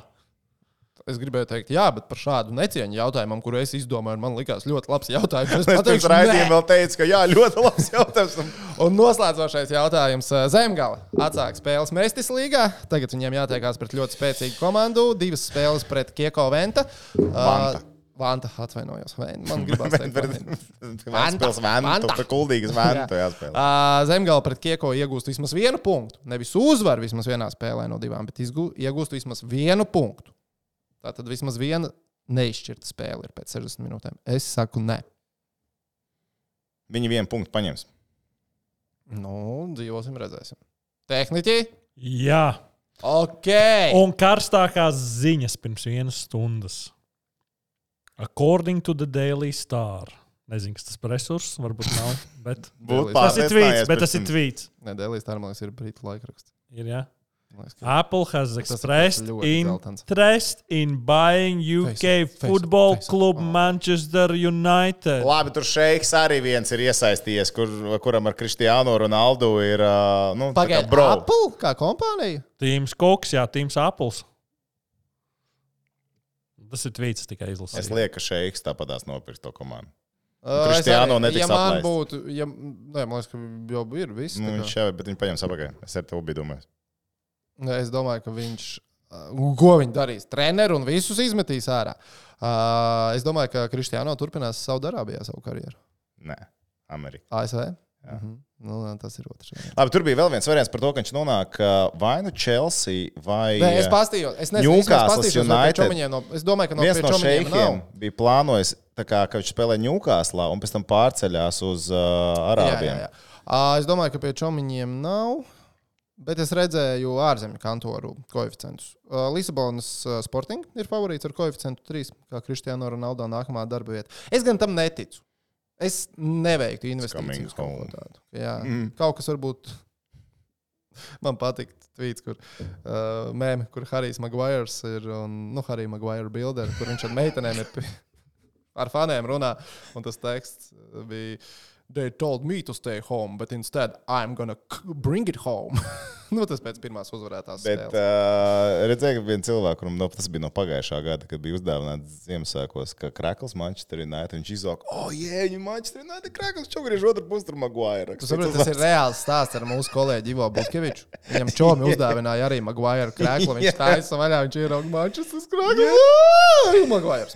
[SPEAKER 1] es gribēju teikt, jā, bet par šādu necieņu jautājumam, kuru es izdomāju, un man likās ļoti labs jautājums. Es
[SPEAKER 3] Es pirms
[SPEAKER 1] pateikšu,
[SPEAKER 3] raidījuma
[SPEAKER 1] nē.
[SPEAKER 3] vēl teicu, ka jā, ļoti labs jautājums. Un
[SPEAKER 1] Un noslēdzošais jautājums. Eh, Zemgale atsāk spēles Mēstis līgā. Tagad viņiem jātiekās pret ļoti spēcīgu komandu. Divas spēles pret Kieko Venta.
[SPEAKER 3] Vanta.
[SPEAKER 1] Uh, Vanta atvainojos. Vēn- Man gribās teikt, Vanta. Vanta,
[SPEAKER 3] Spēlēs vēmtu,
[SPEAKER 1] vanta.
[SPEAKER 3] pa kuldīgas vēmtu jāspēlē.
[SPEAKER 1] Ā, Eh, Zemgale pret Kieko iegūst vismaz vienu punktu. Nevis uzvar vismaz vienā spēlē no divām, bet izgū- iegūst vismaz vienu punktu. Tā tad vismaz viena neizšķirta spēle ir pēc 60 minūtēm. Es saku, nē.
[SPEAKER 3] Viņi vienu punktu paņems.
[SPEAKER 1] Nu, dzīvosim, redzēsim. Tehniķi,
[SPEAKER 2] jā.
[SPEAKER 1] ok.
[SPEAKER 2] Un karstākās ziņas pirms vienas stundas. According to the Daily Star. Nezinu, kas tas par resursu, varbūt nav. Bet
[SPEAKER 3] Būtu
[SPEAKER 2] tas ir
[SPEAKER 3] pārliecinājies
[SPEAKER 2] tvīts, bet
[SPEAKER 3] pēc
[SPEAKER 2] tas ir
[SPEAKER 3] tam.
[SPEAKER 2] tvīts.
[SPEAKER 1] Nē, Dēlīs, tā man liekas, ir brītu laikraksts.
[SPEAKER 2] Ir, ja?
[SPEAKER 1] Man liekas, ka-
[SPEAKER 3] Ah,
[SPEAKER 2] Apple has
[SPEAKER 1] ir
[SPEAKER 2] expressed
[SPEAKER 1] ļoti dzeltens.
[SPEAKER 2] interest in buying
[SPEAKER 1] Face it,
[SPEAKER 2] UK
[SPEAKER 1] face it,
[SPEAKER 2] football
[SPEAKER 1] face it.
[SPEAKER 2] club
[SPEAKER 1] Oh.
[SPEAKER 2] Manchester United.
[SPEAKER 3] Labi, tur šeiks arī viens ir iesaistījies, kur, kuram ar Kristiānu Ronaldu ir. ā, Nu, tā kā
[SPEAKER 1] Pagaidiet,
[SPEAKER 3] bro.
[SPEAKER 1] Apple kā kompānija?
[SPEAKER 2] Tīms Koks, jā, Tīms Apples. Tas ir tvīts tikai
[SPEAKER 3] Es
[SPEAKER 2] izlasīts.
[SPEAKER 3] lieku, ka šeiks tāpatās nopirkt to komandu.
[SPEAKER 1] Uh, es
[SPEAKER 3] Nu, Cristiano
[SPEAKER 1] arī-
[SPEAKER 3] netiks
[SPEAKER 1] ja man
[SPEAKER 3] atlaist.
[SPEAKER 1] būtu, ja, nē, man liekas, ka jau ir viss.
[SPEAKER 3] Nu,
[SPEAKER 1] tā kā.
[SPEAKER 3] viņš jau, bet viņš paņems apakā. Es ar tevi biju domājis.
[SPEAKER 1] Nē, Es domāju, ka viņš, uh, ko viņš darīs, treneru un visus izmetīs ārā. Uh, es domāju, ka Kristiāno turpinās savu darbu, savu karjeru.
[SPEAKER 3] Nē, Amerika.
[SPEAKER 1] ASV.
[SPEAKER 3] Jā.
[SPEAKER 1] Mhm. Nu, nē, tas ir otrs. variants.
[SPEAKER 3] Labi, tur bija vēl viens variants par to, ka viņš nonāk ā, vai nu Chelsea vai
[SPEAKER 1] Nē, es pastījos. Es nezinu, kas
[SPEAKER 3] Newcastle
[SPEAKER 1] tas ir.
[SPEAKER 3] United.
[SPEAKER 1] No, es domāju, ka no
[SPEAKER 3] Viens no
[SPEAKER 1] Čomiņiem
[SPEAKER 3] šeikiem
[SPEAKER 1] nav.
[SPEAKER 3] bija plānojis, tā kā, ka viņš spēlē Ņūkāslā un pēc tam pārceļās uz uh,
[SPEAKER 1] Jā,
[SPEAKER 3] Arābiem.
[SPEAKER 1] jā, jā. Uh, es domāju, ka pie Čomiņiem nav. Bet es redzēju ārzemju kantoru koeficientus. Uh, Lisabonas uh, Sporting ir favorīts ar koeficientu 3, kā Kristiāna Ronaldo nākamā darba vieta. Es gan tam neticu. Es neveiktu investīciju
[SPEAKER 3] coming
[SPEAKER 1] uz kaut ko
[SPEAKER 3] home.
[SPEAKER 1] tādu. Jā, mm.
[SPEAKER 3] Mm.
[SPEAKER 1] kaut kas varbūt. Man patīk tvīts, kur uh, mēmē, kur Harijs Maguires ir un nu, Harijs Maguire bilder, kur viņš ar meitenēm ir pie- ar faniem runā. Un tas teksts eh, bija. They told me to stay home, but instead I'm gonna k- bring it home. nu, tas pēc pirmās uzvarētās
[SPEAKER 3] Bet
[SPEAKER 1] spēles.
[SPEAKER 3] uh, redzēju, ka viens cilvēks, kuram no, tas bija no pagājušā gada, kad bija uzdāvināts Ziemassvētkos, ka Krakls Manchester United viņš izsaka, oh, jē, viņa Manchester United Krakls čogriež otru pusi tur Maguire.
[SPEAKER 1] Tu saproti, tas ir reāls stāsts ar mūsu kolēģi Ivo Buļkeviču. Viņam čomi uzdāvināja arī Maguire krēslu. Viņš tā aizsavaļā, viņš ierauga Manchester krēslu. Maguire.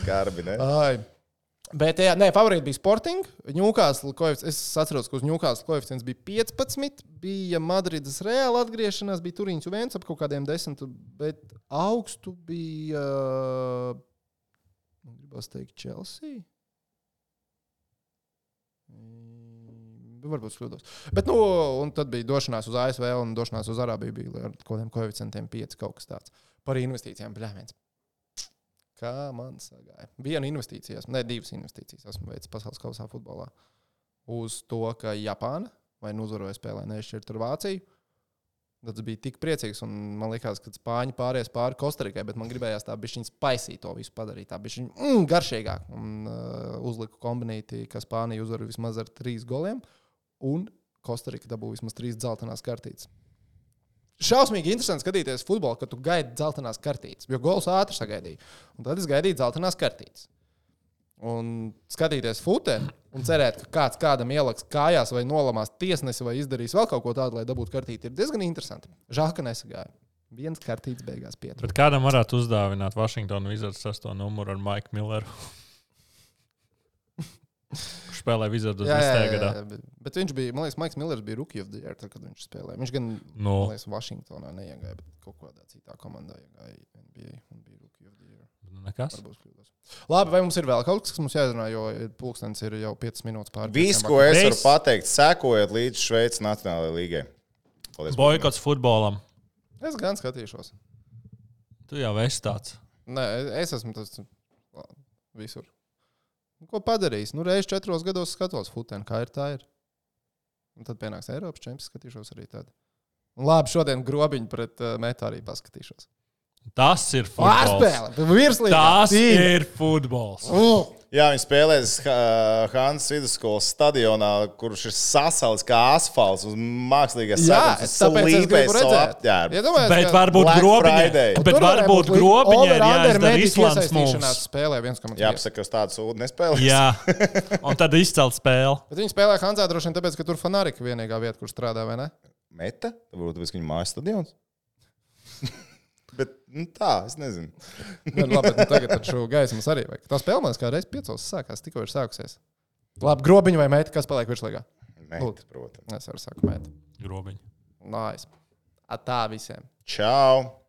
[SPEAKER 3] skarbi, ne?
[SPEAKER 1] Ai. Bet, jā, nē, favorīti bija Sporting. Ņūkāsla koeficients, es atceros, ka uz Ņūkāsla koeficients bija 15, bija Madrides reāla atgriešanās, bija Turīns un viens ap kaut kādiem 10, bet augstu bija, uh, gribas teikt, Chelsea. Mm, Varbūt es kļūdos. Bet, nu, un tad bija došanās uz ASV un došanās uz Arābiju. Bija ar kaut kādiem koeficientiem 5 kaut kas tāds. Par investīcijām, bļāviens. Kā man sagāja? Viena investīcijas, ne divas investīcijas, esmu veicis pasaules kausā futbolā. Uz to, ka Japāna vai nu uzvaroja spēlē nešķirt ar Vāciju, Tad es biju tik priecīgs, un man liekas, ka spāņi pāries pāri Kostarikai, bet man gribējās tā bišķiņa spaisīt to visu padarīt, tā bišķiņa mm, garšīgāk. Un uh, uzliku kombinīti, ka Spānija uzvar vismaz ar trīs goliem, un Kostarika dabūja vismaz trīs dzeltenās kartītes. Šausmīgi interesanti skatīties futbolu, kad tu gaidi dzeltenās kartītes, jo gols ātri sagaidīja. Un tad es gaidīju dzeltenās kartītes. Un skatīties futbolu, un cerēt, ka kāds kādam ieliks kājās, vai nolamās tiesnesi, vai izdarīs vēl kaut ko tādu, lai dabūtu kartīti, ir diezgan interesanti. Žēl, ka nesagāja. Viens kartīts beigās pietrūka.
[SPEAKER 2] Bet kādam varētu uzdāvināt Washington Wizards 6. numuru ar Maiku Milleru? Kurš spēlē Wizards 10. gadā?
[SPEAKER 1] bet, bet viņš bija, man liekas, Maiks Millers bija Rookie of the Year, tad, kad viņš spēlēja. Viņš gan,
[SPEAKER 2] No.
[SPEAKER 1] man liekas, Vašingtonā neiegāja, bet kaut kādā citā komandā iegāja NBA un bija Rookie of the Year.
[SPEAKER 2] Nekas.
[SPEAKER 1] Varbūt kļūdos. Labi, vai mums ir vēl kaut kas, kas mums jāzina, jo pulkstenis ir jau 5 minūtes pāri.
[SPEAKER 3] Viss,
[SPEAKER 1] pieciem
[SPEAKER 3] ko es varu
[SPEAKER 2] Viss.
[SPEAKER 3] pateikt, sekojiet līdz Šveices Nacionālajai līgai. Paldies,
[SPEAKER 2] Boikots futbolam.
[SPEAKER 1] vakar. Es gan skatīšos.
[SPEAKER 2] Tu jau esi tāds.
[SPEAKER 1] Nē, es esmu tas visur. Nu, Ko padarīs? Nu, reizes četros gados skatos futēnu, kā ir tā ir. Un tad pienāks Eiropas čempions, skatīšos arī tādu. Labi, šodien grobiņu pret uh, metu arī paskatīšos.
[SPEAKER 2] Tas ir futbols.
[SPEAKER 1] Pārspēle! Virslīga!
[SPEAKER 2] Tas ir futbols.
[SPEAKER 1] Uh!
[SPEAKER 3] Jā, viņi spēlēs uh, Hansa vidusskolas stadionā, kurš ir sasaucis kā asfalts uz mākslīgās
[SPEAKER 1] Jā, es tāpēc es gribu redzēt.
[SPEAKER 3] apģērbu.
[SPEAKER 1] Iedomājos,
[SPEAKER 2] Bet
[SPEAKER 1] ka-
[SPEAKER 2] varbūt
[SPEAKER 3] Black
[SPEAKER 2] grobiņai.
[SPEAKER 3] Friday.
[SPEAKER 1] Un
[SPEAKER 2] Bet
[SPEAKER 1] tur varētu
[SPEAKER 2] varbūt
[SPEAKER 1] būt līdz
[SPEAKER 2] grobiņai ir
[SPEAKER 1] over-under
[SPEAKER 2] jāizdara
[SPEAKER 1] mediju
[SPEAKER 2] Islands
[SPEAKER 1] piesaistīšanās
[SPEAKER 2] mums.
[SPEAKER 1] Spēlē 1,5.
[SPEAKER 3] Jāpasaka, ka uz tādu sūdu nespēlē.
[SPEAKER 2] Jā. Un tad izcelt spēli.
[SPEAKER 1] Bet viņi spēlē Hanzā droši vien tāpēc, ka tur fanārika vienīgā vieta, kur strādā, vai ne?
[SPEAKER 3] Meta, varbūt tas viņa mājas stadions. Bet nu, tā, es nezinu.
[SPEAKER 1] Nu, labi, bet nu, tagad ar šo gaismas arī vajag. Tā spēlē mums kādreiz piecos sākās, tikko ir sākusies. Labi, grobiņi vai meita, kas paliek virslīgā?
[SPEAKER 3] Meta, protams.
[SPEAKER 1] Es varu sakot, meita.
[SPEAKER 2] Grobiņai.
[SPEAKER 1] Nāc, nice. tā visiem!
[SPEAKER 3] Čau!